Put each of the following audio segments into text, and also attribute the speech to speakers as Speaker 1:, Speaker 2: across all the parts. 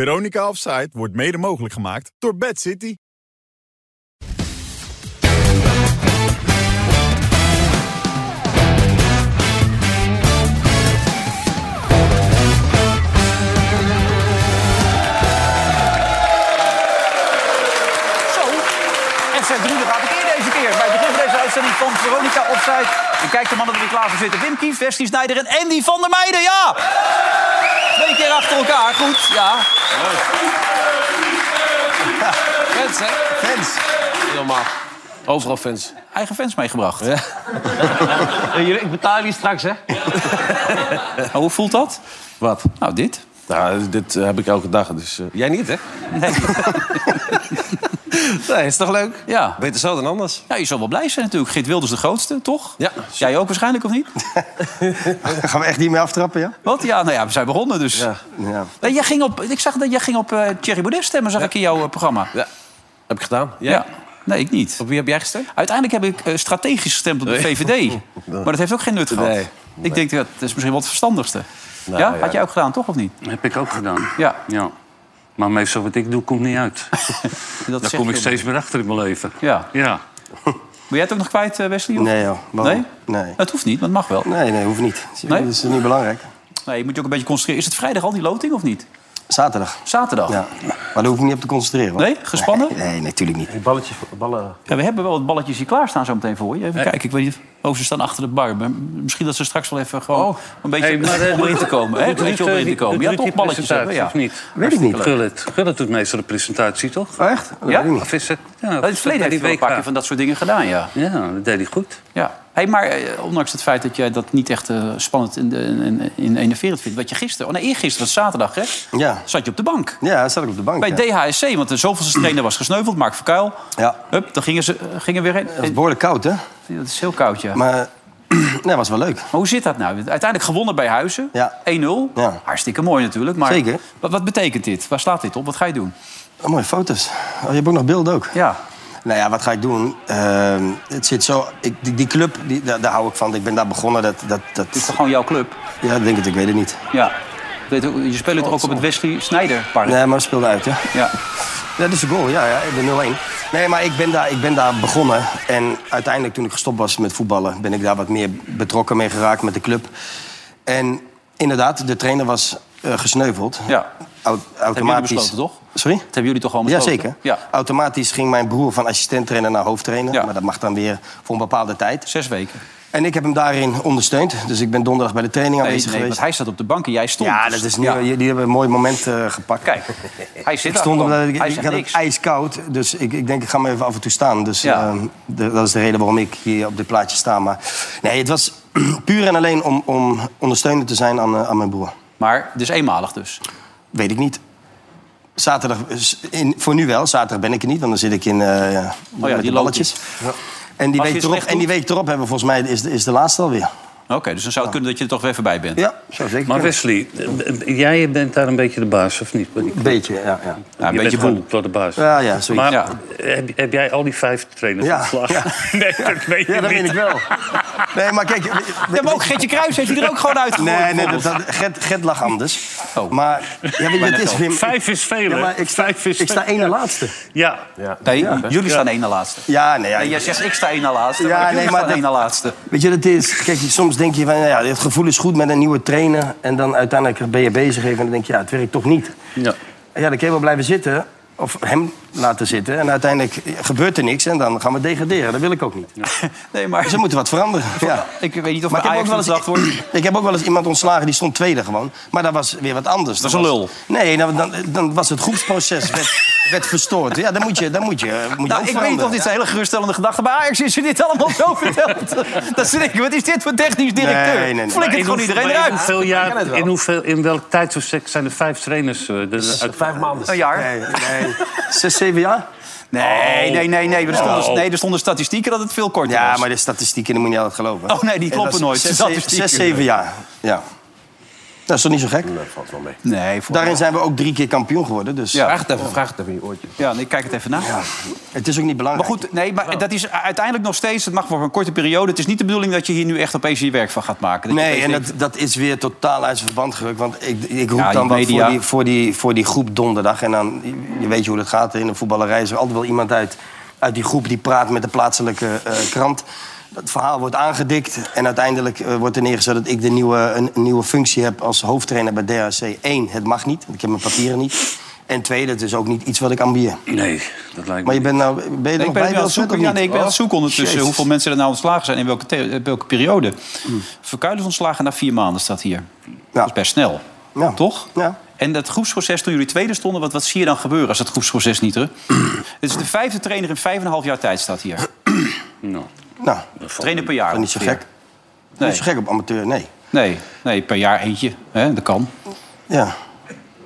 Speaker 1: Veronica Offside wordt mede mogelijk gemaakt door Bad City.
Speaker 2: Zo. FC Brune gaat ik keer deze keer. Bij het begin van deze uitzending van Veronica Offside. Je kijkt de mannen die er klaar voor zitten. Wim Kief, Westie Snijder en Andy van der Meijden. Ja! Twee keer achter elkaar. Goed, ja.
Speaker 3: Fans, hè?
Speaker 2: Fans.
Speaker 3: Helemaal. Overal fans.
Speaker 2: Eigen fans meegebracht.
Speaker 3: Ik betaal jullie straks, hè?
Speaker 2: Nou, hoe voelt dat?
Speaker 3: Wat?
Speaker 2: Nou, dit.
Speaker 3: Nou, dit eh, heb ik elke dag, dus... eh, jij niet, hè? Nee, is toch leuk?
Speaker 2: Ja.
Speaker 3: Beter zo dan anders.
Speaker 2: ja, je zal wel blij zijn natuurlijk. Geert Wilders de grootste, toch?
Speaker 3: Ja.
Speaker 2: Jij ook waarschijnlijk, of niet?
Speaker 4: Gaan we echt niet meer aftrappen, ja?
Speaker 2: Wat? Ja, nou ja, we zijn begonnen, dus...
Speaker 3: Ja.
Speaker 4: Ja.
Speaker 2: Nee, jij ging op, ik zag dat jij ging op eh, Thierry Baudet stemmen, zag ik in jouw eh, programma.
Speaker 3: ja. Heb ik gedaan. Jij?
Speaker 2: Ja. Nee, ik niet.
Speaker 3: Op wie heb jij gestemd?
Speaker 2: Uiteindelijk heb ik eh, strategisch gestemd op de VVD. Maar dat heeft ook geen nut gehad.
Speaker 3: Nee,
Speaker 2: Ik denk dat dat is misschien wel het verstandigste.
Speaker 3: Nou,
Speaker 2: ja?
Speaker 3: ja.
Speaker 2: Had jij ook gedaan, toch of niet?
Speaker 5: Heb ik ook gedaan.
Speaker 2: Ja.
Speaker 5: Ja. Maar meestal wat ik doe, komt niet uit.
Speaker 2: Dat
Speaker 5: Daar
Speaker 2: zeg
Speaker 5: kom ik
Speaker 2: je.
Speaker 5: steeds meer achter in mijn leven.
Speaker 2: Ja.
Speaker 5: Ja.
Speaker 2: Wil jij het ook nog kwijt, eh, Wesley? of-
Speaker 4: Nee, joh.
Speaker 2: Nee?
Speaker 4: Waarom? Nee.
Speaker 2: Dat hoeft niet, dat mag wel.
Speaker 4: Nee, nee, hoeft niet. Dat is,
Speaker 2: Nee?
Speaker 4: dat is niet belangrijk.
Speaker 2: Nee, je moet je ook een beetje concentreren. Is het vrijdag al die loting of niet?
Speaker 4: Zaterdag.
Speaker 2: Zaterdag?
Speaker 4: Ja. Maar daar hoef ik me niet op te concentreren. hoor.
Speaker 2: Nee? Gespannen?
Speaker 4: Nee, nee, natuurlijk niet.
Speaker 3: Balletjes, ballen...
Speaker 2: Ja, we hebben wel wat balletjes hier klaarstaan zo meteen voor je. Even kijken, ik weet niet. Oh, ze staan achter de bar. Maar misschien dat ze straks wel even gewoon een beetje
Speaker 5: Hey, maar, eh,
Speaker 2: om erin te komen. Hè? Een beetje om erin te komen. Ja, toch balletjes hebben, ja.
Speaker 5: Of niet?
Speaker 4: Weet ik niet.
Speaker 5: Gullit. Gullit doet meestal de presentatie, toch?
Speaker 4: Oh, echt? Dat
Speaker 2: Ja?
Speaker 4: weet ik niet.
Speaker 5: Of is het? Ja,
Speaker 2: Oh, In het verleden heeft hij wel een paar keer van dat soort dingen gedaan, ja.
Speaker 5: Ja, dat deed hij goed.
Speaker 2: Ja, hey, maar eh, ondanks het feit dat jij dat niet echt eh, spannend en en- en- en enerverend vindt... wat je gisteren, oh nee, eergisteren, was zaterdag, hè?
Speaker 4: Ja.
Speaker 2: Zat je op de bank.
Speaker 4: Ja, daar zat ik op de bank.
Speaker 2: Bij
Speaker 4: ja.
Speaker 2: DHSC, want de zoveelste trainer was gesneuveld, Mark Verkuil.
Speaker 4: Ja.
Speaker 2: Hup, dan gingen ze eh, gingen weer heen.
Speaker 4: Het was behoorlijk koud, hè?
Speaker 2: En- Dat is heel koud, ja. Maar
Speaker 4: Maar nee, was wel leuk.
Speaker 2: hoe zit dat nou? Uiteindelijk gewonnen bij Huizen.
Speaker 4: Ja.
Speaker 2: 1-0.
Speaker 4: Ja.
Speaker 2: Hartstikke mooi natuurlijk. Maar
Speaker 4: Zeker.
Speaker 2: Wat, wat betekent dit? Waar slaat dit op? Wat ga je doen?
Speaker 4: Oh, mooie foto's. Oh, je hebt ook nog beelden ook.
Speaker 2: Ja.
Speaker 4: Nou ja, wat ga ik doen? Ehm, het zit zo... Ik, die, die club, die, daar, daar hou ik van. Ik ben daar begonnen. Dat, dat,
Speaker 2: Dit is
Speaker 4: dat,
Speaker 2: toch gewoon jouw club?
Speaker 4: ja, dat denk ik. Ik weet het niet.
Speaker 2: Ja. Je weet ook- Je speelt het ook op het Wesley Sneijder Park.
Speaker 4: Nee, maar dat speelde uit, hè?
Speaker 2: Ja.
Speaker 4: Ja, dat is de goal, ja, ja de 0-1. Nee, maar ik ben, daar, ik ben daar begonnen. En uiteindelijk, toen ik gestopt was met voetballen... ben ik daar wat meer betrokken mee geraakt met de club. En inderdaad, de trainer was eh, gesneuveld.
Speaker 2: Ja.
Speaker 4: Au-
Speaker 2: jullie
Speaker 4: automatisch.
Speaker 2: besloten, toch?
Speaker 4: Sorry?
Speaker 2: Dat hebben jullie toch allemaal
Speaker 4: Ja,
Speaker 2: besloten?
Speaker 4: zeker.
Speaker 2: Ja.
Speaker 4: Automatisch ging mijn broer van assistenttrainer naar hoofdtrainer.
Speaker 2: Ja.
Speaker 4: Maar dat mag dan weer voor een bepaalde tijd.
Speaker 2: Zes weken.
Speaker 4: En ik heb hem daarin ondersteund. Dus ik ben donderdag bij de training
Speaker 2: Nee,
Speaker 4: aanwezig
Speaker 2: nee, want
Speaker 4: geweest.
Speaker 2: hij staat op de bank en jij stond.
Speaker 4: Ja,
Speaker 2: Dus-
Speaker 4: dat is nu, die hebben een mooi moment eh, gepakt.
Speaker 2: Kijk, hij zit
Speaker 4: Ik stond
Speaker 2: daar
Speaker 4: omdat
Speaker 2: gewoon.
Speaker 4: ik,
Speaker 2: hij
Speaker 4: ik
Speaker 2: zegt
Speaker 4: had
Speaker 2: niks.
Speaker 4: het ijskoud, dus ik, ik denk ik ga maar even af en toe staan. Dus
Speaker 2: Ja.
Speaker 4: ehm, de- dat is de reden waarom ik hier op dit plaatje sta. Maar nee, het was puur en alleen om, om ondersteunend te zijn aan, eh, aan mijn broer.
Speaker 2: Maar het is eenmalig dus.
Speaker 4: Weet ik niet. Zaterdag, is in, voor nu wel. Zaterdag ben ik er niet, want dan zit ik in eh met
Speaker 2: Oh die
Speaker 4: de balletjes. En die,
Speaker 2: Als je het
Speaker 4: week erop,
Speaker 2: slecht
Speaker 4: en die
Speaker 2: doet-
Speaker 4: week erop hebben we volgens mij is de, is de laatste alweer.
Speaker 2: Oké, dus dan zou het kunnen dat je er toch weer even bij bent.
Speaker 4: Ja, zo zeker.
Speaker 5: Maar Wesley, eh, eh, jij bent daar een beetje de baas, of niet?
Speaker 4: een beetje, ja. Ja,
Speaker 2: Ja, een
Speaker 5: je
Speaker 2: beetje
Speaker 5: bent gewoon
Speaker 2: boel.
Speaker 5: tot de baas.
Speaker 4: ja, ja zoiets.
Speaker 5: Maar
Speaker 2: Ja.
Speaker 5: heb, heb jij al die vijf trainers
Speaker 4: Ja,
Speaker 5: ontslagen? Nee, dat weet je
Speaker 4: ja, dat
Speaker 5: niet.
Speaker 4: weet ik wel. Nee, maar kijk...
Speaker 2: Ja, maar ook Gertje Kruis heeft hij er ook gewoon uitgegooid.
Speaker 4: Nee, nee, dat,
Speaker 2: bijvoorbeeld.
Speaker 4: dat, Gert, Gert lag anders.
Speaker 2: Oh.
Speaker 4: Maar ja, weet je, het is Wim.
Speaker 5: Vijf is veel,
Speaker 4: Ja,
Speaker 5: hè?
Speaker 4: maar ik sta,
Speaker 5: Vijf is
Speaker 4: ik sta
Speaker 5: veel.
Speaker 4: één na laatste.
Speaker 5: Ja.
Speaker 2: Nee, jullie staan één na laatste.
Speaker 4: Ja, nee, ja.
Speaker 2: En jij zegt ik sta één na laatste, ja,
Speaker 4: Ja,
Speaker 2: maar
Speaker 4: nee,
Speaker 2: jullie
Speaker 4: maar
Speaker 2: staan
Speaker 4: dat-
Speaker 2: één na laatste.
Speaker 4: Weet je, dat is. Kijk, soms denk je van, nou ja, het gevoel is goed met een nieuwe trainer. En dan uiteindelijk ben je bezig even en dan denk je, ja, het werkt toch niet.
Speaker 5: Ja.
Speaker 4: En Ja, dan kun je wel blijven zitten. Of hem laten zitten. En uiteindelijk gebeurt er niks en dan gaan we degraderen. Dat wil ik ook niet.
Speaker 2: Nee, maar
Speaker 4: Dus er moet wat veranderen. Ja.
Speaker 2: ik weet niet of
Speaker 4: Maar
Speaker 2: maar
Speaker 4: ik
Speaker 2: Ajax
Speaker 4: heb, ook wel
Speaker 2: wel
Speaker 4: eens,
Speaker 2: zacht wordt.
Speaker 4: ik heb ook wel eens iemand ontslagen die stond tweede gewoon. Maar dat was weer wat anders.
Speaker 2: Dat is een lul.
Speaker 4: Nee, nou, dan, dan, dan was het groepsproces werd, werd verstoord. Ja, dan moet je, dan moet je, moet je
Speaker 2: Nou, ik
Speaker 4: ook
Speaker 2: weet niet
Speaker 4: veranderen.
Speaker 2: of dit een hele geruststellende gedachte bij Ajax is. Je dit allemaal zo vertelt. Dat ze denken, wat is dit voor technisch directeur?
Speaker 4: Nee, nee, nee.
Speaker 2: Flikkert
Speaker 5: In
Speaker 2: gewoon
Speaker 5: hoeveel-
Speaker 2: iedereen
Speaker 5: maar in
Speaker 2: eruit.
Speaker 5: Hoeveel
Speaker 3: ken het
Speaker 5: jaar,
Speaker 3: wel.
Speaker 5: in, hoeveel, in welk tijdsbestek zijn er vijf trainers? eh, de- uit-
Speaker 3: Vijf maanden.
Speaker 2: Een jaar. Oh.
Speaker 4: Nee, nee. Zes, zeven jaar?
Speaker 2: Nee, nee, nee, nee. Er stonden,
Speaker 4: dus-
Speaker 5: Oh.
Speaker 2: nee, er stonden statistieken dat het veel korter was.
Speaker 4: Ja, maar de statistieken, die moet je niet altijd geloven.
Speaker 2: Oh, nee, die Oh, kloppen
Speaker 4: Dat is
Speaker 2: nooit, de
Speaker 4: Zes,
Speaker 2: statistieken.
Speaker 4: zes, zeven jaar. Ja. Dat is toch niet zo gek?
Speaker 3: Dat valt wel mee.
Speaker 2: Nee, voor...
Speaker 4: Daarin zijn we ook drie keer kampioen geworden. Dus
Speaker 2: Ja.
Speaker 3: Vraag het even, vraag het even in je oortje.
Speaker 2: Ja, nee, kijk het even na.
Speaker 4: het is ook niet
Speaker 2: Maar
Speaker 4: belangrijk.
Speaker 2: goed, nee, maar dat is uiteindelijk nog steeds... het mag voor een korte periode. Het is niet de bedoeling dat je hier nu echt opeens je werk van gaat maken. Dat je
Speaker 4: Nee,
Speaker 2: opeens
Speaker 4: en
Speaker 2: denkt,
Speaker 4: dat, dat is weer totaal uit zijn verband gerukt. Want ik, ik roep
Speaker 2: Ja, die
Speaker 4: dan wat
Speaker 2: media.
Speaker 4: voor die, voor, die, voor die groep donderdag. En dan, je weet je hoe dat gaat in de voetballerij. Is er altijd wel iemand uit, uit die groep die praat met de plaatselijke eh, krant. Dat verhaal wordt aangedikt. En uiteindelijk eh, wordt er neergezet dat ik de nieuwe, een, een nieuwe functie heb als hoofdtrainer bij DHC. Eén, het mag niet. want Ik heb mijn papieren niet. En twee, dat is ook niet iets wat ik ambieer.
Speaker 5: Nee, dat lijkt me Oh,
Speaker 4: Maar je bent nou, ben je er
Speaker 2: Nee,
Speaker 4: nog
Speaker 2: ik ben
Speaker 4: bij
Speaker 2: nu aan
Speaker 4: Wilfred,
Speaker 2: het zoeken,
Speaker 4: of
Speaker 2: ja,
Speaker 4: niet? Oh,
Speaker 2: nee, ik ben aan het zoeken ondertussen
Speaker 4: Jezus. Hmm.
Speaker 2: hoeveel mensen er nou ontslagen zijn en in welke, the- eh, welke periode. Verkuilers ontslagen na vier maanden staat hier. Dat is best snel,
Speaker 4: Ja.
Speaker 2: toch?
Speaker 4: Ja.
Speaker 2: En dat groepsproces toen jullie tweede stonden, wat, wat zie je dan gebeuren als dat groepsproces niet er? Het is de vijfde trainer in vijf en een half jaar tijd staat hier.
Speaker 5: Nou,
Speaker 4: Nou,
Speaker 5: dat valt
Speaker 2: Trainer per jaar.
Speaker 4: niet zo
Speaker 2: ongeveer.
Speaker 4: gek. Niet
Speaker 2: Nee,
Speaker 4: zo gek op amateur, nee.
Speaker 2: nee, nee per jaar eentje. Hè, dat kan.
Speaker 4: Ja.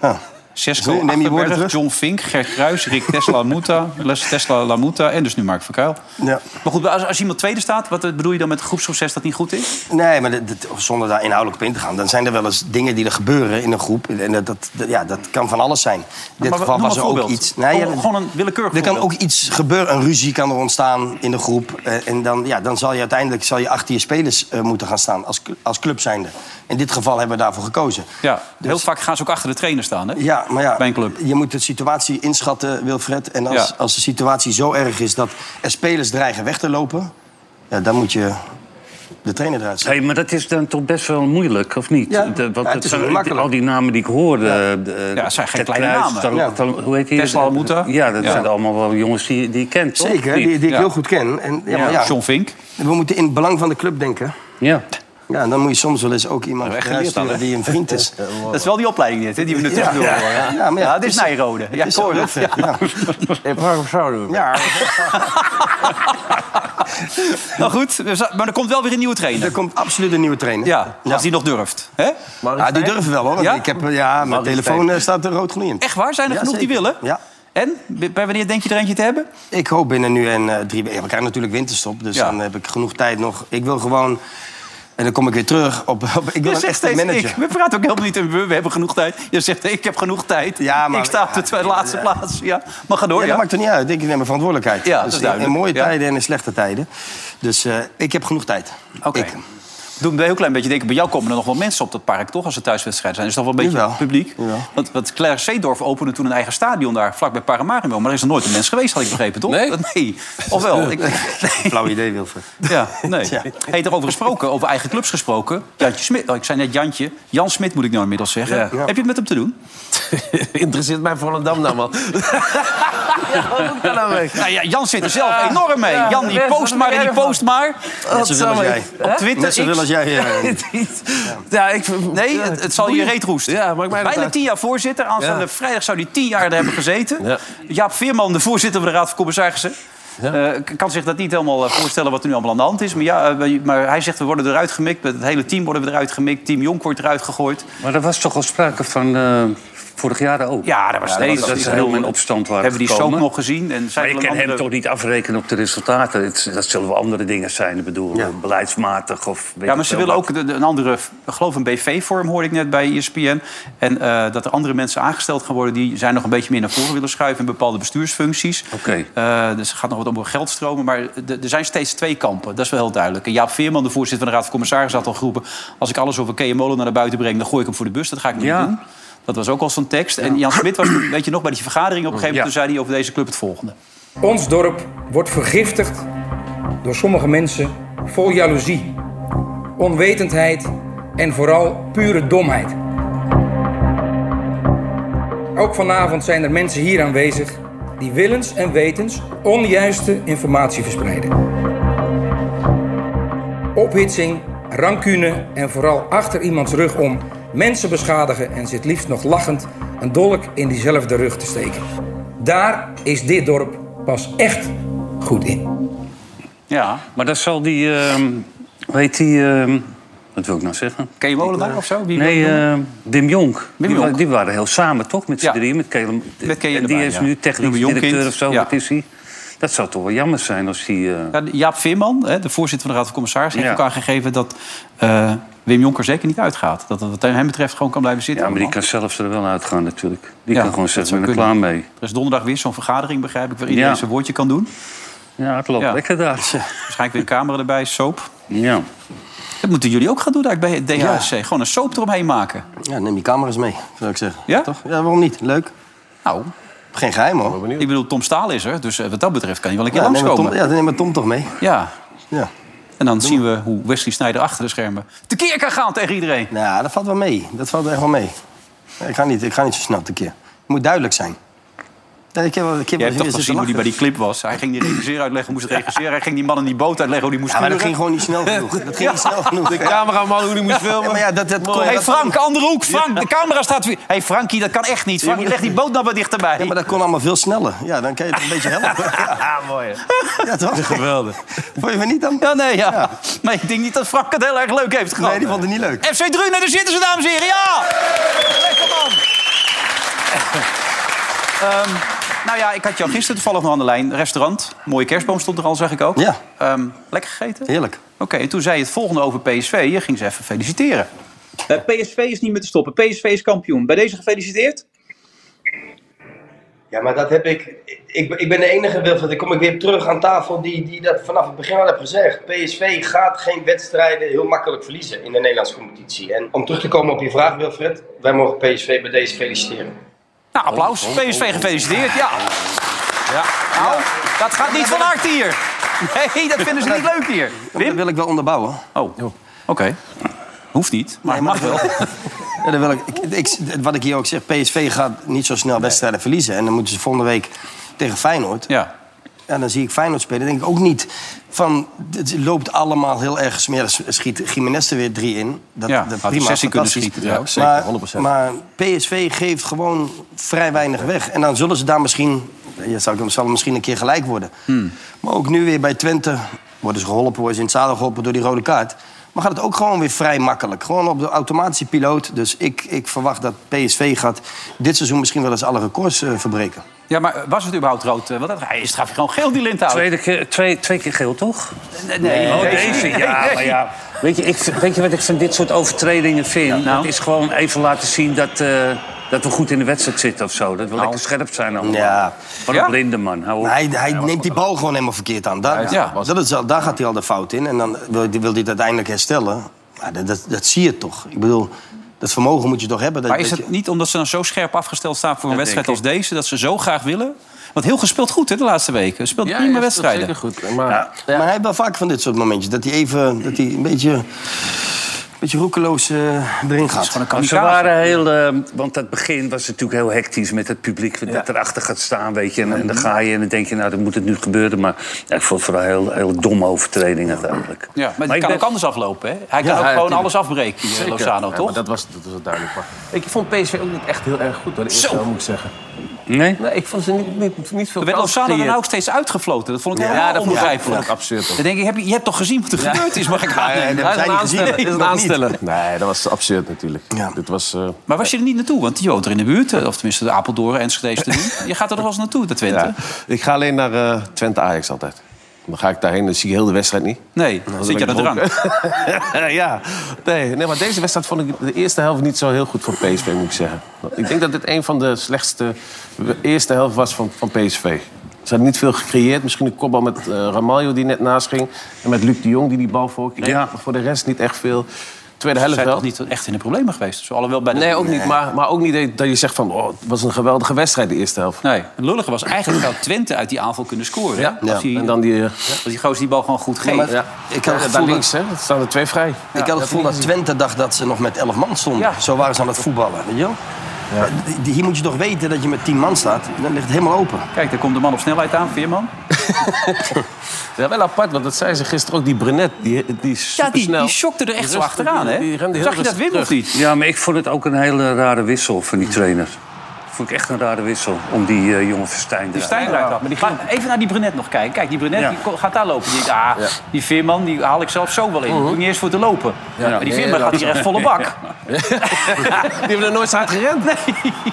Speaker 4: ja.
Speaker 2: Cesco,
Speaker 4: Neem je woorden
Speaker 2: Achterberg,
Speaker 4: terug.
Speaker 2: John Fink, Gert Kruis, Rick Tesla Muta, Les Tesla Lamuta en dus nu Mark Verkuil.
Speaker 4: Ja.
Speaker 2: Maar goed, als, als iemand tweede staat, wat eh, bedoel je dan met het groepsproces dat niet goed is?
Speaker 4: Nee, maar dit- dit- zonder daar inhoudelijk op in te gaan... dan zijn er wel eens dingen die er gebeuren in een groep. En dat, dat, dat- ja, dat kan van alles zijn. In dit
Speaker 2: Maar
Speaker 4: geval
Speaker 2: noem
Speaker 4: was er
Speaker 2: een
Speaker 4: ook
Speaker 2: voorbeeld.
Speaker 4: iets... Nee, ja,
Speaker 2: gewoon, gewoon een willekeurig
Speaker 4: er kan ook
Speaker 2: voorbeeld.
Speaker 4: iets gebeuren, een ruzie kan er ontstaan in de groep. Eh, en dan, ja, dan zal je uiteindelijk zal je achter je spelers eh, moeten gaan staan als, cl- als club zijnde. In dit geval hebben we daarvoor gekozen.
Speaker 2: Ja,
Speaker 4: Dus-
Speaker 2: heel vaak gaan ze ook achter de trainer staan, hè?
Speaker 4: Ja, maar ja,
Speaker 2: Bij een club.
Speaker 4: je moet de situatie inschatten, Wilfred. En als,
Speaker 2: Ja.
Speaker 4: als de situatie zo erg is dat er spelers dreigen weg te lopen... Ja, dan moet je de trainer eruit zetten.
Speaker 5: Hey, maar dat is dan toch best wel moeilijk, of niet?
Speaker 4: Ja,
Speaker 5: De-
Speaker 4: ja,
Speaker 5: het
Speaker 4: het is
Speaker 5: zijn-
Speaker 4: niet makkelijk.
Speaker 5: Al die namen die ik hoorde. eh,
Speaker 2: Ja, het zijn geen
Speaker 5: Ted
Speaker 2: kleine namen.
Speaker 5: Tal-
Speaker 4: Ja.
Speaker 5: Tal- hoe heet die?
Speaker 2: Tesla Almuta.
Speaker 5: Ja, dat
Speaker 2: Ja.
Speaker 5: zijn allemaal wel jongens die, die je kent, toch?
Speaker 4: Zeker,
Speaker 5: Of
Speaker 4: die,
Speaker 5: niet?
Speaker 4: die ik
Speaker 2: Ja.
Speaker 4: heel goed ken. En, ja, maar ja,
Speaker 2: John Vink.
Speaker 4: we moeten in het belang van de club denken.
Speaker 5: Ja.
Speaker 4: Ja, en dan moet je soms wel eens ook iemand
Speaker 2: we echt geleerd
Speaker 4: uitsturen
Speaker 2: aan, hè?
Speaker 4: die een vriend is.
Speaker 2: Dat is wel die opleiding dit, hè, die we nu terug doen. Ja,
Speaker 4: Ja, maar ja,
Speaker 2: dit is
Speaker 4: het
Speaker 2: Nijrode. Ja,
Speaker 4: het is wel
Speaker 2: Cor,
Speaker 4: heel vet, ja. Ja,
Speaker 2: Nou goed, we za- maar er komt wel weer een nieuwe trainer.
Speaker 4: er komt absoluut een nieuwe trainer.
Speaker 2: Ja, als die nog durft. Hè?
Speaker 4: Ja, die durven wel hoor. Want
Speaker 2: Ja?
Speaker 4: ik heb, eh, ja, mijn telefoon eh, staat er rood gloeiend.
Speaker 2: Echt waar? Zijn er
Speaker 4: Ja,
Speaker 2: genoeg die
Speaker 4: zeker.
Speaker 2: willen?
Speaker 4: Ja.
Speaker 2: En? Bij bij wanneer denk je er eentje te hebben?
Speaker 4: Ik hoop binnen nu en eh, drie weken. Ja, we krijgen natuurlijk winterstop, dus
Speaker 2: Ja.
Speaker 4: dan heb ik genoeg tijd nog. Ik wil gewoon. En dan kom ik weer terug op. op ik wil
Speaker 2: Je
Speaker 4: een
Speaker 2: zegt
Speaker 4: echte
Speaker 2: steeds
Speaker 4: manager.
Speaker 2: ik. We praten ook helemaal niet in we, we hebben genoeg tijd. Je zegt ik heb genoeg tijd.
Speaker 4: Ja, maar-
Speaker 2: ik sta op de
Speaker 4: ja,
Speaker 2: twa- laatste
Speaker 4: ja.
Speaker 2: plaats. Ja. Maar ga door,
Speaker 4: Ja,
Speaker 2: ja.
Speaker 4: dat maakt er niet uit. Ik neem mijn verantwoordelijkheid.
Speaker 2: Ja, dat
Speaker 4: dus
Speaker 2: is
Speaker 4: in, in
Speaker 2: duidelijk.
Speaker 4: mooie
Speaker 2: Ja.
Speaker 4: tijden en in slechte tijden. Dus eh, ik heb genoeg tijd.
Speaker 2: Oké.
Speaker 4: Ik.
Speaker 2: Doe me een heel klein beetje denken. Bij jou komen er nog wel mensen op dat park, toch? Als er thuiswedstrijden zijn. Is toch wel een beetje
Speaker 4: Jawel.
Speaker 2: publiek?
Speaker 4: Jawel.
Speaker 2: Want, want Claire Seedorf opende toen een eigen stadion daar, vlak bij Paramaribo. Maar er is er nooit een mens geweest, had ik begrepen, toch?
Speaker 3: Nee.
Speaker 2: nee. Ofwel. Ik, nee.
Speaker 4: Flauw idee, Wilfred.
Speaker 2: Ja, nee.
Speaker 4: Ja.
Speaker 2: Hey, daarover gesproken, over eigen clubs gesproken. Jantje Smit, oh, ik zei net Jantje. Jan Smit moet ik nou inmiddels zeggen.
Speaker 3: Ja.
Speaker 2: Heb je het met hem te doen?
Speaker 3: Interesseert mij Volendam nou, man. ja, wat kan nou mee?
Speaker 2: Nou ja, Jan zit er zelf enorm mee. Jan, die
Speaker 3: best,
Speaker 2: post
Speaker 3: wat
Speaker 2: maar
Speaker 3: ben
Speaker 2: en
Speaker 3: jij
Speaker 2: die
Speaker 3: ervan?
Speaker 2: post maar.
Speaker 4: Net zoveel als jij.
Speaker 2: Op Twitter,
Speaker 4: Net zoveel
Speaker 2: X.
Speaker 4: als jij. eh,
Speaker 3: Ja, ik...
Speaker 2: Nee, het, het zal je reet roesten.
Speaker 3: Ja, maakt mij dat
Speaker 2: Bijna
Speaker 3: uit.
Speaker 2: tien jaar voorzitter. Aanstaande
Speaker 3: Ja.
Speaker 2: eh, vrijdag zou die tien jaar er hebben gezeten.
Speaker 3: Ja.
Speaker 2: Jaap Veerman, de voorzitter van de Raad van Commissarissen... eh, k- kan zich dat niet helemaal eh, voorstellen wat er nu allemaal aan de hand is. Maar, ja, eh, wij- maar hij zegt, we worden eruit gemikt. Met het hele team worden we eruit gemikt. Team Jonk wordt eruit gegooid.
Speaker 5: Maar er was toch al sprake van eh, vorig jaar ook?
Speaker 2: Ja, daar was
Speaker 5: Nee, dat,
Speaker 2: steeds-
Speaker 5: ze heel in opstand waren
Speaker 2: Hebben we die soap
Speaker 5: gekomen.
Speaker 2: nog gezien? En zijn
Speaker 5: Maar
Speaker 2: er
Speaker 5: ik
Speaker 2: wel
Speaker 5: kan
Speaker 2: een
Speaker 5: hem
Speaker 2: andere-
Speaker 5: toch niet afrekenen op de resultaten. Het- dat zullen wel andere dingen zijn, ik bedoel, beleidsmatig of... weet
Speaker 2: Ja,
Speaker 5: ik
Speaker 2: maar ze
Speaker 5: veel
Speaker 2: willen
Speaker 5: wat.
Speaker 2: ook de- de- een andere, ik geloof een BV-vorm hoorde ik net bij E ESPN. En eh, dat er andere mensen aangesteld gaan worden die zijn nog een beetje meer naar voren willen schuiven in bepaalde bestuursfuncties.
Speaker 5: Oké.
Speaker 2: Eh, dus het gaat nog wat om geld stromen, maar de- er zijn steeds twee kampen. Dat is wel heel duidelijk. En Jaap Veerman, de voorzitter van de Raad van Commissarissen, had al geroepen: als ik alles over Kea Molen naar buiten breng, dan gooi ik hem voor de bus. Dat ga ik niet
Speaker 5: Ja.
Speaker 2: doen. Dat was ook al zo'n tekst. En Jan Smit was, weet je nog, bij die vergadering op een gegeven moment
Speaker 5: Ja.
Speaker 2: toen zei hij over deze club het volgende.
Speaker 6: Ons dorp wordt vergiftigd door sommige mensen vol jaloezie, onwetendheid en vooral pure domheid. Ook vanavond zijn er mensen hier aanwezig die willens en wetens onjuiste informatie verspreiden. Ophitsing, rancune en vooral achter iemands rug om mensen beschadigen en zit liefst nog lachend een dolk in diezelfde rug te steken. Daar is dit dorp pas echt goed in.
Speaker 2: Ja,
Speaker 5: Maar dat zal die... ehm hoe heet die... ehm, wat wil ik nou zeggen?
Speaker 2: Kea Molenaar of zo? Wie wil
Speaker 5: Nee,
Speaker 2: je noemen?
Speaker 5: eh Dim Jonk. Die
Speaker 2: Jonk.
Speaker 5: wa- Die waren heel samen, toch? Met z'n
Speaker 2: Ja.
Speaker 5: drieën. Met Kelem.
Speaker 2: Met Kea
Speaker 5: en die
Speaker 2: erbij,
Speaker 5: is
Speaker 2: ja.
Speaker 5: nu technisch
Speaker 2: Noemen Jonkind.
Speaker 5: directeur of zo.
Speaker 2: Ja.
Speaker 5: Wat is hij? Dat zou toch wel jammer zijn als hij... eh,
Speaker 2: Ja, Jaap Veerman, hè, de voorzitter van de Raad van Commissarissen, heeft
Speaker 5: Ja.
Speaker 2: ook aangegeven dat eh, Wim Jonker zeker niet uitgaat. Dat het wat hem betreft gewoon kan blijven zitten.
Speaker 5: Ja, maar die
Speaker 2: allemaal.
Speaker 5: kan zelf er wel uitgaan natuurlijk. Die
Speaker 2: Ja,
Speaker 5: kan gewoon
Speaker 2: dat
Speaker 5: zeggen,
Speaker 2: zou
Speaker 5: ik ben er klaar
Speaker 2: kunnen.
Speaker 5: mee.
Speaker 2: Er is donderdag weer zo'n vergadering, begrijp ik, waar iedereen
Speaker 5: Ja.
Speaker 2: zijn woordje kan doen.
Speaker 5: Ja, het loopt
Speaker 2: Ja.
Speaker 5: lekker daar.
Speaker 2: Waarschijnlijk weer een camera erbij, soap.
Speaker 5: Ja.
Speaker 2: Dat moeten jullie ook gaan doen eigenlijk bij het DHSC. Gewoon een soap eromheen maken.
Speaker 4: Ja, neem die camera's mee, zou ik zeggen.
Speaker 2: Ja?
Speaker 4: Toch? Ja, waarom niet? Leuk.
Speaker 2: Nou,
Speaker 4: Geen geheim, hoor.
Speaker 2: ik bedoel, Tom Staal is er. Dus eh, wat dat betreft kan je wel een keer
Speaker 4: Ja, neem maar Tom,
Speaker 2: langskomen.
Speaker 4: ja, neem maar Tom toch mee.
Speaker 2: Ja.
Speaker 4: Ja.
Speaker 2: En dan zien we hoe Wesley Sneijder achter de schermen tekeer kan gaan tegen iedereen.
Speaker 4: Nou, ja, dat valt wel mee. Dat valt echt wel mee. Nee, Ik ga niet, ik ga niet zo snel tekeer. Het moet duidelijk zijn. Ja, ik heb wel, ik heb
Speaker 2: Je
Speaker 4: wel
Speaker 2: hebt toch
Speaker 4: zitten
Speaker 2: gezien hoe die bij
Speaker 4: lachen.
Speaker 2: die clip was. Hij ging die regisseur uitleggen, hoe moest het regisseren. Hij ging die man in die boot uitleggen hoe die moest
Speaker 4: Ja, maar dat
Speaker 2: sturen.
Speaker 4: ging gewoon niet snel genoeg. Dat ging niet snel genoeg. De
Speaker 3: Cameraman, hoe die moest
Speaker 4: Ja,
Speaker 3: filmen.
Speaker 4: maar ja, dat, dat kon-
Speaker 2: hey
Speaker 4: dat-
Speaker 2: Frank, andere hoek, Frank, de camera staat weer. hey Frankie, dat kan echt niet. Frankie, leg die boot nou wat dichterbij.
Speaker 4: Ja, maar dat kon allemaal veel sneller. Ja, dan kan je het een beetje helpen. Ja, Ah, mooi. Ja, toch? Geweldig. Vond je me niet dan?
Speaker 2: Ja, nee, ja. Nee, ik denk niet dat Frank het heel erg leuk heeft gehad.
Speaker 4: Nee, die vond het niet leuk.
Speaker 2: FC Drunen, daar zitten ze, dames en heren. Ja! Lekker man! Ehm, nou ja, ik had jou gisteren toevallig nog aan de lijn. Restaurant, mooie kerstboom stond er al, zeg ik ook.
Speaker 4: Ja.
Speaker 2: Ehm, lekker gegeten?
Speaker 4: Heerlijk.
Speaker 2: Oké, en toen zei je het volgende over PSV. Je ging ze even feliciteren. PSV is niet meer te stoppen. PSV is kampioen. Bij deze gefeliciteerd.
Speaker 4: Ja, maar dat heb ik. Ik, ik ben de enige, Wilfred. Dan kom ik weer terug aan tafel die, die dat vanaf het begin al heb gezegd. PSV gaat geen wedstrijden heel makkelijk verliezen in de Nederlandse competitie. En om terug te komen op je vraag, Wilfred. Wij mogen PSV bij deze feliciteren.
Speaker 2: Nou,
Speaker 5: Oh,
Speaker 2: applaus. PSV gefeliciteerd, ja. ja. Nou, dat gaat niet van harte hier. Nee, dat vinden ze niet leuk hier.
Speaker 4: Dat wil ik wel onderbouwen.
Speaker 2: Oh, oké. Hoeft niet, maar
Speaker 4: Nee,
Speaker 2: mag
Speaker 4: mag
Speaker 2: wel.
Speaker 4: Ja, dat wil ik, ik, ik- Wat ik hier ook zeg, PSV gaat niet zo snel wedstrijden verliezen. En dan moeten ze volgende week tegen Feyenoord.
Speaker 2: Ja.
Speaker 4: Ja, dan zie ik Feyenoord spelen. denk ik ook niet van... Het loopt allemaal heel erg smerig. Schiet Gimenez er weer drie in. Dat,
Speaker 2: Ja,
Speaker 4: dat
Speaker 2: had
Speaker 4: prima,
Speaker 2: hij zes in kunnen
Speaker 4: fantastisch.
Speaker 2: schieten trouwens.
Speaker 3: Ja, zeker,
Speaker 4: maar, Maar
Speaker 3: 100%.
Speaker 4: PSV geeft gewoon vrij weinig weg. En dan zullen ze daar misschien... Ja, zal, ik- zal het misschien een keer gelijk worden.
Speaker 5: Hmm.
Speaker 4: Maar ook nu weer bij Twente worden ze geholpen. Worden ze in het zadel geholpen door die rode kaart. Maar gaat het ook gewoon weer vrij makkelijk. Gewoon op de automatische piloot. Dus ik, ik verwacht dat PSV gaat dit seizoen misschien wel eens alle records eh, verbreken.
Speaker 2: Ja, maar was het überhaupt rood? eh, Wat dat, hij is gaf je gewoon geel die linthouden.
Speaker 5: Tweede keer, twee, twee keer geel, toch?
Speaker 2: Nee, nee,
Speaker 5: Oh,
Speaker 2: nee,
Speaker 5: deze.
Speaker 2: nee,
Speaker 5: Ja,
Speaker 2: nee.
Speaker 5: maar ja. Weet je, ik, weet je wat ik van dit soort overtredingen vind?
Speaker 2: nou?
Speaker 5: Dat is gewoon even laten zien dat, eh, dat we goed in de wedstrijd zitten of zo. Dat we lekker scherp zijn allemaal.
Speaker 4: Ja.
Speaker 5: Wat
Speaker 2: Nou. Ja?
Speaker 5: een blinde man. Hou op.
Speaker 4: Maar Hij, hij neemt die bal gewoon helemaal verkeerd aan. Daar,
Speaker 2: Ja.
Speaker 4: dat is, al- daar gaat hij al de fout in. En dan wil, wil hij het uiteindelijk herstellen. Maar dat, dat, dat zie je toch. Ik bedoel, dat vermogen moet je toch hebben. Dat,
Speaker 2: Maar is
Speaker 4: dat
Speaker 2: het
Speaker 4: je-
Speaker 2: niet omdat ze dan zo scherp afgesteld staan voor een
Speaker 5: Dat
Speaker 2: wedstrijd
Speaker 5: denk
Speaker 2: als
Speaker 5: ik.
Speaker 2: deze... dat ze zo graag willen? Want heel gespeeld goed hè, de laatste weken. Speelt prima wedstrijden.
Speaker 3: Zeker goed. Maar,
Speaker 5: Ja.
Speaker 4: Maar hij heeft wel vaak van dit soort momentjes. Dat hij even dat hij een beetje, een beetje roekeloos eh, erin gaat.
Speaker 5: Maar ze waren heel, eh, want dat begin was natuurlijk heel hectisch met het publiek dat erachter gaat staan, weet je. En, en dan ga je en dan denk je, nou, dan moet het nu gebeuren. Maar ja, ik vond het vooral heel, heel domme overtreding uiteindelijk.
Speaker 2: Ja, maar het
Speaker 5: ik
Speaker 2: kan
Speaker 5: ben-
Speaker 2: ook anders aflopen. Hè? Hij kan ook
Speaker 3: ja,
Speaker 2: gewoon
Speaker 3: tuurlijk.
Speaker 2: alles afbreken, die, eh,
Speaker 3: Zeker.
Speaker 2: Lozano,
Speaker 3: Ja,
Speaker 2: toch?
Speaker 3: maar dat, was, dat was het duidelijk. Maar ik vond PSV ook niet echt heel erg goed. Hoor, de eerste
Speaker 2: Zo.
Speaker 3: helft, moet ik zeggen.
Speaker 5: Nee?
Speaker 3: Nee, ik vond ze niet, niet, niet veel
Speaker 2: Er werd
Speaker 3: kansen
Speaker 2: Lozano dan
Speaker 3: gecreëerd.
Speaker 2: ook steeds uitgefloten. Dat vond ik helemaal
Speaker 3: Ja, dat vond ik-
Speaker 2: onbegrijpelijk.
Speaker 3: vond ik absurd, hoor.
Speaker 2: Dan denk ik, heb je, je hebt toch gezien wat er gebeurd is, mag ik
Speaker 4: nee,
Speaker 2: aannemen.
Speaker 4: dat
Speaker 3: Hij is
Speaker 4: zijn
Speaker 3: een
Speaker 4: niet gezien. Nee,
Speaker 3: aansteller. Is een
Speaker 4: nog niet.
Speaker 3: aansteller. Nee, dat was absurd natuurlijk.
Speaker 4: Ja.
Speaker 3: Dit was... eh,
Speaker 2: Maar was je er niet naartoe? Want die woont er in de buurt. eh, Of tenminste, de Apeldoorn, Enschede, te doen. Je gaat er nog wel eens naartoe, de Twente.
Speaker 3: ja. Ik ga alleen naar eh, Twente Ajax altijd. Dan ga ik daarheen, dan zie ik heel de wedstrijd niet.
Speaker 2: Nee, dan zit je aan de
Speaker 3: Dan ben
Speaker 2: drank.
Speaker 3: ik dronken. ja, nee, nee, maar deze wedstrijd vond ik de eerste helft niet zo heel goed voor PSV, moet ik zeggen. Ik denk dat dit een van de slechtste eerste helft was van, van PSV. Ze hadden niet veel gecreëerd. Misschien een kopbal met eh, Ramalho die net naast ging. En met Luc de Jong die die bal voor kreeg.
Speaker 5: Ja.
Speaker 3: Maar voor de rest niet echt veel. Tweede
Speaker 2: Ze
Speaker 3: helft
Speaker 2: zijn
Speaker 3: wel.
Speaker 2: toch niet echt in de problemen geweest? Zo, alhoewel bij de...
Speaker 3: Nee, ook niet. Maar, maar ook niet dat je zegt van... Oh, het was een geweldige wedstrijd, de eerste helft.
Speaker 2: Nee, het lullige was eigenlijk zou Twente uit die aanval kunnen scoren.
Speaker 3: Ja?
Speaker 2: Als, die,
Speaker 3: En dan die... eh,
Speaker 2: als die gozer die bal gewoon goed geeft.
Speaker 4: maar-
Speaker 2: Ja,
Speaker 3: Ja.
Speaker 4: Ik had het
Speaker 3: daar
Speaker 4: gevoel
Speaker 3: links, hè. Er staan er twee vrij.
Speaker 4: ik had het gevoel dat Twente dacht dat ze nog met 11 man stonden.
Speaker 2: Ja.
Speaker 4: Zo waren ze aan het voetballen. Weet je wel? Maar Hier moet je toch weten dat je met 10 man staat. Dan ligt het helemaal open.
Speaker 2: Kijk, daar komt de man op snelheid aan, Veerman.
Speaker 3: Ja, wel apart, want dat zei ze gisteren ook. Die Brenet, die, die is
Speaker 2: Ja, die,
Speaker 3: supersnel.
Speaker 2: die schokte er echt zo
Speaker 3: Rustig,
Speaker 2: achteraan,
Speaker 3: die- die
Speaker 2: hè?
Speaker 3: rende heel
Speaker 2: Zag je dat
Speaker 3: rustig
Speaker 2: Wim of
Speaker 3: terug.
Speaker 2: niet?
Speaker 5: Ja, maar ik vond het ook een hele rare wissel van die trainer. vond ik echt een rare wissel om die eh, jongen Verstijn
Speaker 2: Die
Speaker 5: eruit.
Speaker 2: Stijn eruit had.
Speaker 3: maar die
Speaker 2: Maar
Speaker 3: ging-
Speaker 2: even naar die Brunet nog kijken. Kijk, die Brunet
Speaker 5: Ja.
Speaker 2: die ko- gaat daar lopen. Die, ah, die Veerman die haal ik zelf zo wel in. Ik hoef niet eens voor te lopen. Maar die
Speaker 3: Mhm. Nee,
Speaker 2: Veerman
Speaker 3: dat
Speaker 2: gaat hier echt volle bak.
Speaker 3: Die hebben er nooit zo hard gerend.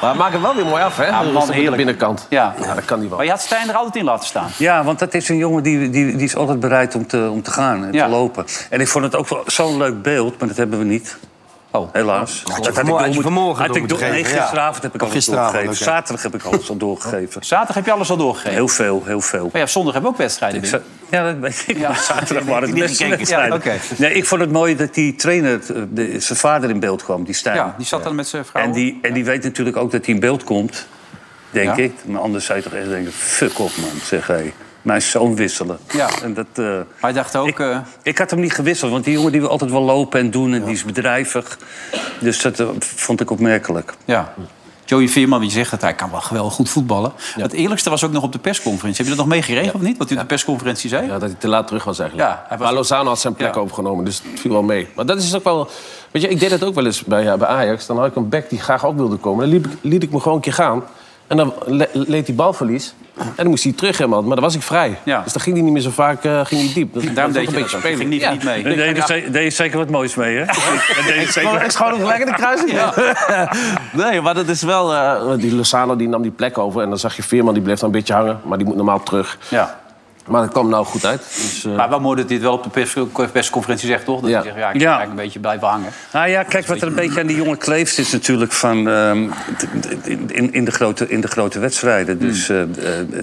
Speaker 3: Maar maak hem wel weer mooi af, hè?
Speaker 2: man,
Speaker 3: Rustig met
Speaker 2: heerlijk.
Speaker 3: de binnenkant.
Speaker 2: Ja.
Speaker 3: ja, dat kan hij wel.
Speaker 2: Maar je had Stijn er altijd in laten staan.
Speaker 5: Ja, want dat is een jongen die, die, die is altijd bereid om te, om te gaan en
Speaker 2: Ja.
Speaker 5: te lopen. En ik vond het ook wel zo'n leuk beeld, maar dat hebben we niet.
Speaker 2: Oh.
Speaker 5: Helaas. dat had ik
Speaker 4: vanmorgen-
Speaker 5: door
Speaker 4: had je
Speaker 5: moet-
Speaker 4: vanmorgen
Speaker 5: had
Speaker 4: door
Speaker 5: ik door,
Speaker 4: moeten
Speaker 5: nee,
Speaker 4: geven, ja.
Speaker 5: gisteravond heb
Speaker 2: Oh,
Speaker 5: ik
Speaker 4: Of
Speaker 5: alles
Speaker 4: gisteravond
Speaker 5: doorgegeven.
Speaker 4: ook, ja.
Speaker 5: Zaterdag heb ik alles al doorgegeven.
Speaker 2: Zaterdag heb je alles al doorgegeven.
Speaker 5: Heel veel, heel veel.
Speaker 2: Maar ja, zondag hebben we ook wedstrijden.
Speaker 5: Ik
Speaker 2: Wim.
Speaker 5: zou- Ja, dat weet ik. Maar zaterdag waren het
Speaker 2: Niet
Speaker 5: best
Speaker 2: gekeken.
Speaker 5: wedstrijden.
Speaker 2: Ja, oké.
Speaker 5: Nee, ik vond het mooi dat die trainer, eh, de- zijn vader in beeld kwam, die Stijn.
Speaker 2: Ja, die zat dan met zijn vrouw.
Speaker 5: En die, en die weet natuurlijk ook dat hij in beeld komt, denk
Speaker 2: Ja.
Speaker 5: ik. Maar anders zou je toch echt denken, fuck op man, zeg hij. Mijn zoon wisselen.
Speaker 2: Ja.
Speaker 5: En dat, eh,
Speaker 2: Hij dacht ook...
Speaker 5: ik,
Speaker 2: eh,
Speaker 5: ik had hem niet gewisseld, want die jongen die wil altijd wel lopen en doen... en die is bedrijvig. Dus dat eh, vond ik opmerkelijk.
Speaker 2: Ja. Joey Veerman, die zegt dat hij kan wel geweldig goed voetballen. Het eerlijkste was ook nog op de persconferentie. Heb je dat nog meegekregen of niet? Wat u op de persconferentie zei?
Speaker 3: Ja, dat hij te laat terug was eigenlijk.
Speaker 2: Ja, hij was-
Speaker 3: Maar Lozano had zijn plek
Speaker 2: Ja.
Speaker 3: overgenomen, dus het viel wel mee. Maar dat is ook wel... Weet je, ik deed dat ook wel eens bij, ja, bij Ajax. Dan had ik een back die graag op wilde komen. Dan liep ik, liet ik me gewoon een keer gaan. En dan le- leed hij balverlies. En dan moest hij terug helemaal. Maar dan was ik vrij.
Speaker 2: Ja.
Speaker 3: Dus dan ging hij niet meer zo vaak eh, ging hij diep. Dat,
Speaker 2: Daarom
Speaker 3: dat
Speaker 2: deed
Speaker 3: was
Speaker 2: je
Speaker 3: ook
Speaker 2: dat ook. Je ging niet, niet mee.
Speaker 5: Daar deed je ze- deed je zeker wat moois mee, hè? Daar deed je zeker-
Speaker 3: Ik schoot hem gelijk in de kruising. nee, maar dat is wel... eh, die Lozano die nam die plek over. En dan zag je Veerman, die bleef dan een beetje hangen. Maar die moet normaal terug.
Speaker 2: Ja.
Speaker 3: Maar dat kwam nou goed uit. Dus, eh,
Speaker 2: Maar wel mooi dat hij het wel op de pers- persconferentie zegt, toch? Dat
Speaker 3: Ja.
Speaker 2: hij zegt, ja, ik ben
Speaker 5: Ja.
Speaker 2: eigenlijk een beetje blijven hangen.
Speaker 5: Nou ja, kijk, wat er een beetje aan die jongen kleeft is natuurlijk van... ehm, t- in, in, de grote, in de grote wedstrijden. Dus eh, eh,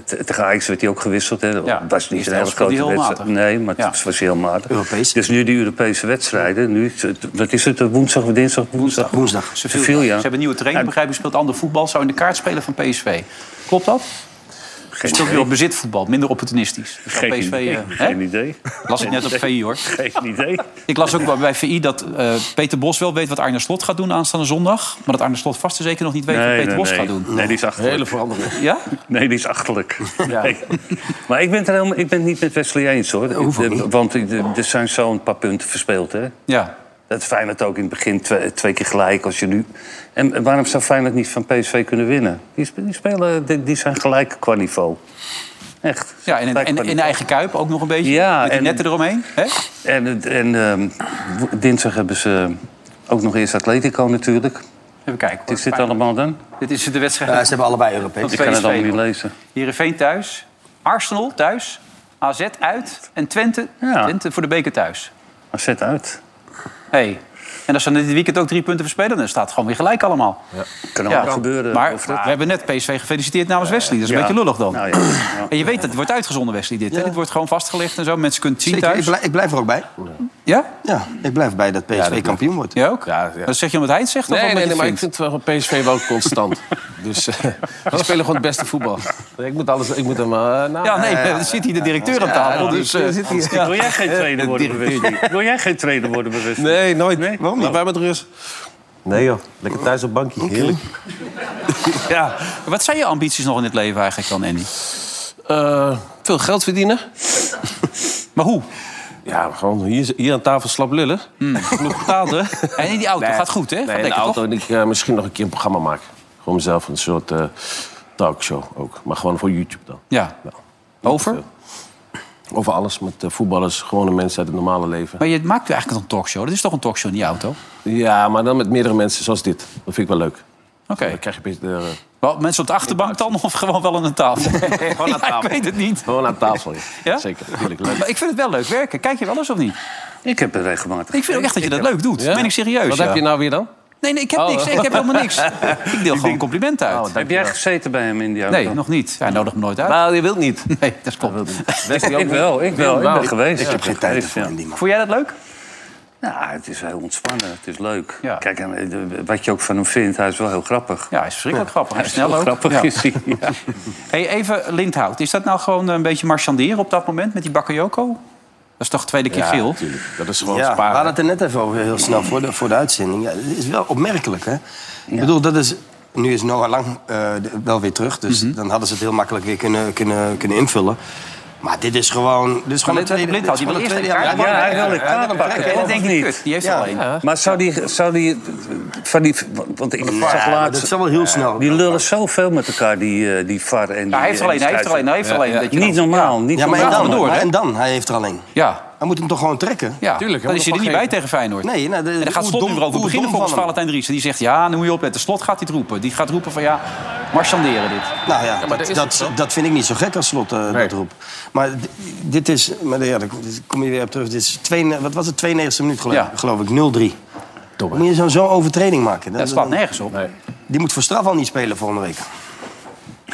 Speaker 5: t- tegen Ajax werd hij ook gewisseld. Hè. Dat
Speaker 2: Hmm. Ja.
Speaker 5: was niet
Speaker 2: Eerste
Speaker 5: een hele
Speaker 2: helft speelde
Speaker 5: grote
Speaker 2: hij heel
Speaker 5: wedstrijd. Nee, maar het
Speaker 2: Ja.
Speaker 5: was- was heel matig.
Speaker 4: Europees.
Speaker 5: Dus nu die Europese wedstrijden. Nu, t- wat is het, woensdag of dinsdag? Woensdag.
Speaker 4: Woensdag.
Speaker 5: Sevilla.
Speaker 2: Ze hebben een nieuwe trainer, begrijp ik, speelt ander voetbal. Zou in de kaart spelen van PSV. Klopt dat?
Speaker 5: Geen
Speaker 2: Speelt weer
Speaker 5: idee.
Speaker 2: op bezitvoetbal, minder opportunistisch. Dus zou
Speaker 5: Geen
Speaker 2: PSV,
Speaker 5: idee.
Speaker 2: eh, hè?
Speaker 5: Geen idee.
Speaker 2: Las ik net op VI, hoor.
Speaker 5: Geen idee.
Speaker 2: Ik las ook bij VI dat eh, Peter Bos wel weet wat Arne Slot gaat doen aanstaande zondag. Maar dat Arne Slot vast en zeker nog niet weet wat Peter Bos gaat doen.
Speaker 5: nee, die is
Speaker 3: hele
Speaker 5: achterlijk.
Speaker 3: verandering.
Speaker 2: Ja?
Speaker 5: Nee, die is achterlijk. Nee. Maar ik ben, het er helemaal, ik ben het niet met Wesley eens, hoor. Ik- de- want ik- de- er zijn zo'n paar punten verspeeld, hè.
Speaker 2: Ja.
Speaker 5: Dat Feyenoord ook in het begin twee, twee keer gelijk als je nu... En waarom zou Feyenoord niet van PSV kunnen winnen? Die, sp- die spelen, die, die zijn gelijk qua niveau. Echt.
Speaker 2: Ja, en,
Speaker 5: Gelijk
Speaker 2: en,
Speaker 5: qua
Speaker 2: en in
Speaker 5: niveau.
Speaker 2: eigen kuip ook nog een beetje.
Speaker 5: Ja,
Speaker 2: met die
Speaker 5: en-
Speaker 2: netten eromheen. Hè?
Speaker 5: En, het- en ehm, wo- dinsdag hebben ze ook nog eerst Atletico natuurlijk.
Speaker 2: Even kijken. hoor.
Speaker 5: Wat is dit allemaal dan?
Speaker 2: Dit is de wedstrijd.
Speaker 4: Ja, Eh, ze hebben allebei Europees.
Speaker 5: Ik kan het
Speaker 2: PSV
Speaker 5: allemaal niet
Speaker 2: hoor.
Speaker 5: lezen.
Speaker 2: Heerenveen thuis. Arsenal thuis. AZ uit. En Twente,
Speaker 5: Ja.
Speaker 2: Twente voor de beker thuis.
Speaker 5: Maar zet uit.
Speaker 2: Hey. En als ze dit weekend ook drie punten verspelen... dan staat het gewoon weer gelijk allemaal.
Speaker 5: Kan
Speaker 2: Ja.
Speaker 5: allemaal gebeuren.
Speaker 2: Maar
Speaker 5: Of-
Speaker 2: we hebben net PSV gefeliciteerd namens Wesley. Dat is een beetje lullig dan.
Speaker 5: Nou, ja. Ja.
Speaker 2: En je weet, dat het wordt uitgezonden, Wesley, dit. hè? Dit wordt gewoon vastgelegd en zo. Mensen kunnen het zien
Speaker 4: Zeker, ik,
Speaker 2: thuis.
Speaker 4: blij- ik blijf er ook bij.
Speaker 2: Ja?
Speaker 4: Ja, ik blijf bij dat PSV kampioen wordt.
Speaker 2: Jij ook?
Speaker 3: Ja, ja.
Speaker 2: Dat zeg je omdat hij het zegt? of
Speaker 3: Nee,
Speaker 2: omdat
Speaker 3: nee,
Speaker 2: je
Speaker 3: nee,
Speaker 2: het
Speaker 3: maar ik
Speaker 2: vindt?
Speaker 3: vind wel PSV wel constant. dus eh we spelen gewoon het beste voetbal. Ik moet alles, ik moet hem... eh, nou,
Speaker 2: Ja, nee, er zit hier de directeur aan tafel. Dus, eh, ja.
Speaker 5: Wil jij geen trainer worden bij Wesley? Wil jij geen trainer worden Nou, bij Wesley?
Speaker 3: Eh, Nee, nooit. Waarom niet? Laat mij met rust. Nee joh, lekker thuis op bankje. Heerlijk. ja.
Speaker 2: Wat zijn je ambities nog in het leven eigenlijk dan, Andy?
Speaker 3: Eh, veel geld verdienen.
Speaker 2: Maar hoe? Hmm.
Speaker 3: Ja, gewoon hier, hier aan tafel slap lullen. Genoeg betaald, hè?
Speaker 2: En in die auto gaat goed, hè? Gaat
Speaker 3: Nee, in de
Speaker 2: lekker,
Speaker 3: auto
Speaker 2: toch?
Speaker 3: en ik eh, misschien nog een keer een programma maken. Gewoon mezelf een soort eh, talkshow ook. Maar gewoon voor YouTube dan.
Speaker 2: Ja.
Speaker 3: Nou,
Speaker 2: Over?
Speaker 3: Over alles met eh, voetballers, gewone mensen uit het normale leven.
Speaker 2: Maar je maakt eigenlijk een talkshow. Dat is toch een talkshow in die auto?
Speaker 3: Ja, maar dan met meerdere mensen zoals dit. Dat vind ik wel leuk.
Speaker 2: Oké.
Speaker 3: Dan krijg je een beetje eh,
Speaker 2: Wel, mensen op de achterbank dan of gewoon wel aan de tafel?
Speaker 3: gewoon aan
Speaker 2: Ja, ik
Speaker 3: tafel.
Speaker 2: weet het niet.
Speaker 3: gewoon aan tafel. Ja.
Speaker 2: Ja?
Speaker 3: Zeker, natuurlijk leuk.
Speaker 2: Maar ik vind het wel leuk werken. Kijk je wel eens of niet?
Speaker 5: Ik heb het regelmatig.
Speaker 2: Ik vind ook echt dat je dat leuk doet.
Speaker 3: Ja?
Speaker 2: Ben ik serieus?
Speaker 3: Wat
Speaker 2: ja.
Speaker 3: heb je nou weer dan?
Speaker 2: Nee, nee, ik heb
Speaker 3: Oh.
Speaker 2: niks. Ik heb helemaal niks. Ik deel gewoon complimenten uit.
Speaker 5: Heb jij gezeten bij hem in die auto?
Speaker 2: Nee, nog niet. Hij nodigt me nooit uit.
Speaker 3: Nou, je wilt niet.
Speaker 2: Nee, dat klopt.
Speaker 5: Ik wel, ik wel. Ik
Speaker 3: Wauw.
Speaker 5: ben geweest.
Speaker 4: Ik heb geen tijd
Speaker 5: geweest,
Speaker 4: voor
Speaker 5: ja.
Speaker 4: hem, die man.
Speaker 2: Vond jij dat leuk?
Speaker 5: Nou, het is heel ontspannen. eh, Het is leuk.
Speaker 2: Ja.
Speaker 5: Kijk, en, eh, de- wat je ook van hem vindt, hij is wel heel grappig.
Speaker 2: Ja, hij is verschrikkelijk grappig. Hij is snel
Speaker 5: Heel
Speaker 2: ook.
Speaker 5: grappig
Speaker 2: Ja.
Speaker 5: is hij. Ja.
Speaker 2: Hey, even Lindhout. Is dat nou gewoon een beetje marchanderen op dat moment met die Bakayoko? Dat is toch de tweede keer geel?
Speaker 3: natuurlijk. Dat is gewoon
Speaker 4: Ja, we
Speaker 3: sparen.
Speaker 4: hadden het er net even over, heel snel voor de, voor de uitzending. Ja, het is wel opmerkelijk, hè? Ik bedoel, dat is... Nu
Speaker 2: Mhm.
Speaker 4: is Noah Lang eh, de- wel weer terug, dus dan hadden ze het heel makkelijk weer kunnen, kunnen, kunnen invullen. Maar dit is gewoon... Dit is gewoon een
Speaker 2: dit werd
Speaker 4: tweede...
Speaker 2: blind
Speaker 4: dit is
Speaker 2: had.
Speaker 4: gewoon
Speaker 2: Die
Speaker 4: een
Speaker 2: wil
Speaker 4: tweede
Speaker 2: eerst
Speaker 4: jaar.
Speaker 2: een
Speaker 5: Ja, hij wil een
Speaker 4: Ja, ja, ja,
Speaker 5: kaart
Speaker 4: ja,
Speaker 5: pakken.
Speaker 4: ja,
Speaker 2: Dat
Speaker 5: of
Speaker 2: denk ik
Speaker 5: niet?
Speaker 2: kut, Die heeft er
Speaker 4: Ja.
Speaker 2: al één.
Speaker 5: Maar zou die, zou die, van die, want ik
Speaker 4: ja,
Speaker 5: zag
Speaker 4: maar Dat
Speaker 5: laatst,
Speaker 4: is wel heel snel.
Speaker 5: die lullen zoveel met elkaar, die, eh die VAR en die...
Speaker 2: Ja, Hij heeft er
Speaker 5: en
Speaker 2: al
Speaker 5: die
Speaker 2: één, hij heeft er al één, hij heeft er al één. Dat je
Speaker 5: scheidsrechter. Niet
Speaker 2: dan-
Speaker 5: normaal, niet
Speaker 4: Ja, maar en
Speaker 5: normaal.
Speaker 4: dan?
Speaker 2: door, hè?
Speaker 4: Maar en dan? Hij heeft er alleen.
Speaker 2: Ja,
Speaker 4: Hij moet hem toch gewoon trekken?
Speaker 2: ja.
Speaker 3: Tuurlijk, hè,
Speaker 2: Dan is
Speaker 3: want
Speaker 2: je er niet
Speaker 3: dan mag
Speaker 2: bij
Speaker 3: geen-
Speaker 2: tegen Feyenoord.
Speaker 4: Nee, nou, de-
Speaker 2: en daar gaat
Speaker 4: hoe
Speaker 2: Slot nu
Speaker 4: dom-
Speaker 2: weer over
Speaker 4: hoe
Speaker 2: beginnen
Speaker 4: dom
Speaker 2: volgens
Speaker 4: van hem.
Speaker 2: Valentijn Driessen. Die zegt, ja, nu moet je opletten. Slot gaat dit roepen. Die gaat roepen van, ja, marchanderen dit.
Speaker 4: Nou ja,
Speaker 3: maar
Speaker 4: dat,
Speaker 3: daar is het
Speaker 4: dat,
Speaker 3: wel.
Speaker 4: dat vind ik niet zo gek als slot eh
Speaker 3: Nee.
Speaker 4: dat roep. Maar d- dit is, maar ja, daar kom je weer op terug. Dit is twee, wat was het, 92 minuut geloof,
Speaker 2: Ja.
Speaker 4: geloof ik, 0-3. Moet je zo'n zo'n overtreding maken?
Speaker 2: Dat slaat nergens op.
Speaker 4: Die moet voor straf al niet spelen volgende week.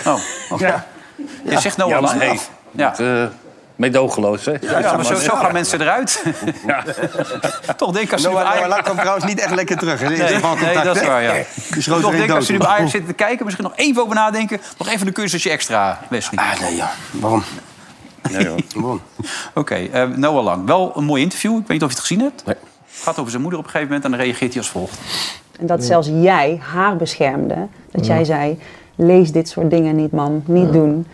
Speaker 2: Oh, oké.
Speaker 5: Ja.
Speaker 2: Je zegt nou
Speaker 5: Ja,
Speaker 2: al
Speaker 5: maar
Speaker 2: lang.
Speaker 5: hey,
Speaker 2: Ja.
Speaker 5: eh, meedogenloos, hè?
Speaker 2: Ja, maar zo, zo gaan mensen eruit. Toch denk als je nu bij
Speaker 4: Noah, Noah
Speaker 2: Ajax...
Speaker 4: Lang kwam trouwens niet echt lekker terug. hè, in
Speaker 2: Nee,
Speaker 4: zijn balcontact,
Speaker 2: nee, dat is
Speaker 4: hè?
Speaker 2: waar, ja. Dus
Speaker 4: Die schoot
Speaker 2: Toch
Speaker 4: erin
Speaker 2: denk als je nu
Speaker 4: dood.
Speaker 2: bij Ajax zit te kijken... misschien nog even over nadenken. Nog even een cursusje extra, Wesley.
Speaker 4: Ah, nee, ja. Waarom?
Speaker 5: Nee, hoor.
Speaker 4: Waarom?
Speaker 2: Oké, eh, Noah Lang. Wel een mooi interview. Ik weet niet of je het gezien hebt.
Speaker 3: Nee.
Speaker 2: Het gaat over zijn moeder op een gegeven moment en dan reageert hij als volgt.
Speaker 7: En dat zelfs jij haar beschermde. Dat jij zei, lees dit soort dingen niet, man. Niet doen.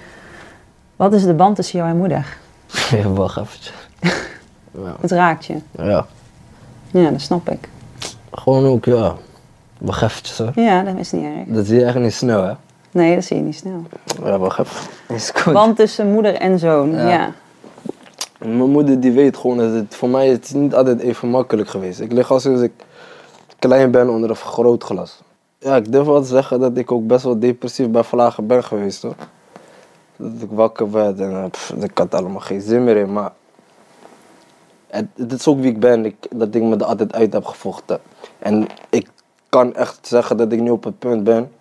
Speaker 7: Wat is de band tussen jou en moeder?
Speaker 8: Ja, wacht even.
Speaker 7: Het raakt je.
Speaker 8: Ja,
Speaker 7: Ja, dat snap ik.
Speaker 8: gewoon ook, ja. Wacht even, hoor.
Speaker 7: Ja, dat is niet erg.
Speaker 8: Dat is echt niet snel, hè?
Speaker 7: Nee, dat zie je niet snel.
Speaker 8: Ja, wacht even. Is goed.
Speaker 7: Band tussen moeder en zoon, ja.
Speaker 8: Mijn moeder die weet gewoon dat het voor mij het niet altijd even makkelijk geweest. Ik lig al sinds ik klein ben onder een vergrootglas. Ja, ik durf wel te zeggen dat ik ook best wel depressief bij vlagen ben geweest hoor. Dat ik wakker werd en eh, pff, ik had allemaal geen zin meer in, maar het, het is ook wie ik ben, ik, dat ik me er altijd uit heb gevochten. En ik kan echt zeggen dat ik nu op het punt ben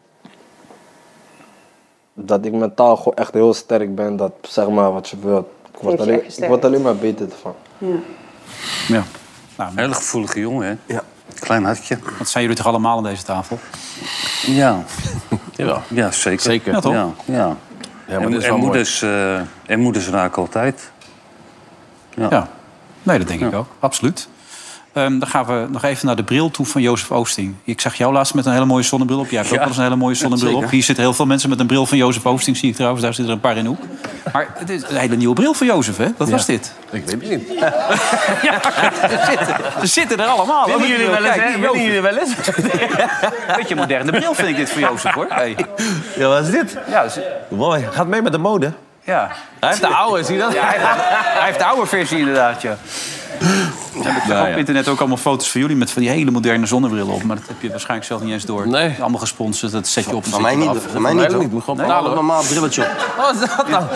Speaker 8: dat ik mentaal gewoon echt heel sterk ben, dat zeg maar wat je wilt. Ik
Speaker 7: Heeft
Speaker 8: word,
Speaker 7: je
Speaker 8: alleen,
Speaker 7: echt
Speaker 8: ik word
Speaker 7: gesterkt.
Speaker 8: alleen maar beter ervan.
Speaker 2: Ja. Nou,
Speaker 5: Hele gevoelige jongen, hè?
Speaker 4: Ja.
Speaker 5: Klein hartje.
Speaker 2: dat zijn jullie toch allemaal aan deze tafel?
Speaker 5: Ja,
Speaker 3: Jawel.
Speaker 5: ja zeker.
Speaker 3: Zeker.
Speaker 2: Ja, toch?
Speaker 5: Ja, ja.
Speaker 3: Ja, maar
Speaker 5: en,
Speaker 3: dit is
Speaker 5: en
Speaker 3: wel mooi.
Speaker 5: moeders, eh, en moeders raken altijd. Ja.
Speaker 2: Ja, nee, dat denk ik ook. Absoluut. Ehm, dan gaan we nog even naar de bril toe van Jozef Oosting. Ik zag jou laatst met een hele mooie zonnebril op. Jij hebt ook wel eens een hele mooie zonnebril op. Hier zitten heel veel mensen met een bril van Jozef Oosting, zie ik trouwens. Daar zitten er een paar in de hoek. Maar het is een hele nieuwe bril van Jozef, hè? Wat was dit?
Speaker 3: Ik weet het niet.
Speaker 2: Ja, ze zitten, ze zitten er allemaal. Oh, Willen jullie wel eens, Willen jullie wel eens? Beetje moderne bril vind ik dit voor Jozef, hoor. Hey.
Speaker 9: Ja, wat is dit?
Speaker 2: Ja, ze-
Speaker 9: Mooi. Gaat mee met de mode.
Speaker 2: ja.
Speaker 9: Hij heeft de oude, zie je dat?
Speaker 2: Ja, hij, hij heeft de oude versie inderdaad, ja. heb ik zag op internet ook allemaal foto's van jullie met van die hele moderne zonnebrillen op. Maar dat heb je waarschijnlijk zelf niet eens door.
Speaker 3: Nee.
Speaker 2: Allemaal gesponsord, dat zet je op. en
Speaker 4: Van
Speaker 2: zet
Speaker 4: mij
Speaker 2: je
Speaker 4: niet.
Speaker 2: eraf.
Speaker 4: Van mij niet.
Speaker 3: Eigenlijk niet.
Speaker 4: hoor.
Speaker 3: Moet gewoon
Speaker 4: Nee,
Speaker 3: betalen. hoor.
Speaker 4: normaal brilletje op.
Speaker 9: Wat is dat dan?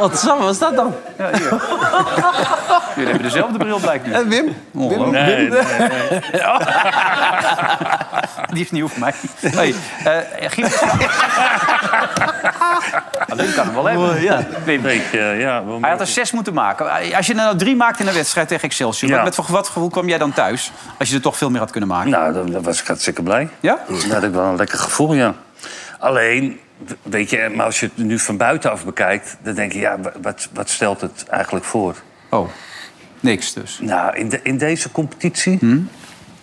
Speaker 9: Wat Sam, wat is dat dan?
Speaker 2: Jullie hebben dezelfde bril blijkbaar. Oh,
Speaker 9: En Wim?
Speaker 2: Ongelooflijk.
Speaker 5: Nee, nee.
Speaker 2: Die is nieuw voor mij. Hey, eh Giel- Alleen kan hem wel hebben. Wim,
Speaker 5: Weet je, eh, ja, wel
Speaker 2: Hij had er zes moeten maken. Als je er nou drie maakt in een wedstrijd tegen Excelsior...
Speaker 5: Ja.
Speaker 2: Met wat, wat gevoel kwam jij dan thuis? Als je er toch veel meer had kunnen maken.
Speaker 5: Nou, dan, dan was ik hartstikke blij.
Speaker 2: Ja?
Speaker 5: Dat had ik wel een lekker gevoel, ja. Alleen, weet je, maar als je het nu van buitenaf bekijkt... dan denk je, ja, wa- wat, wat stelt het eigenlijk voor?
Speaker 2: Oh, niks dus. Hm?
Speaker 5: Nou, in, de, in deze competitie,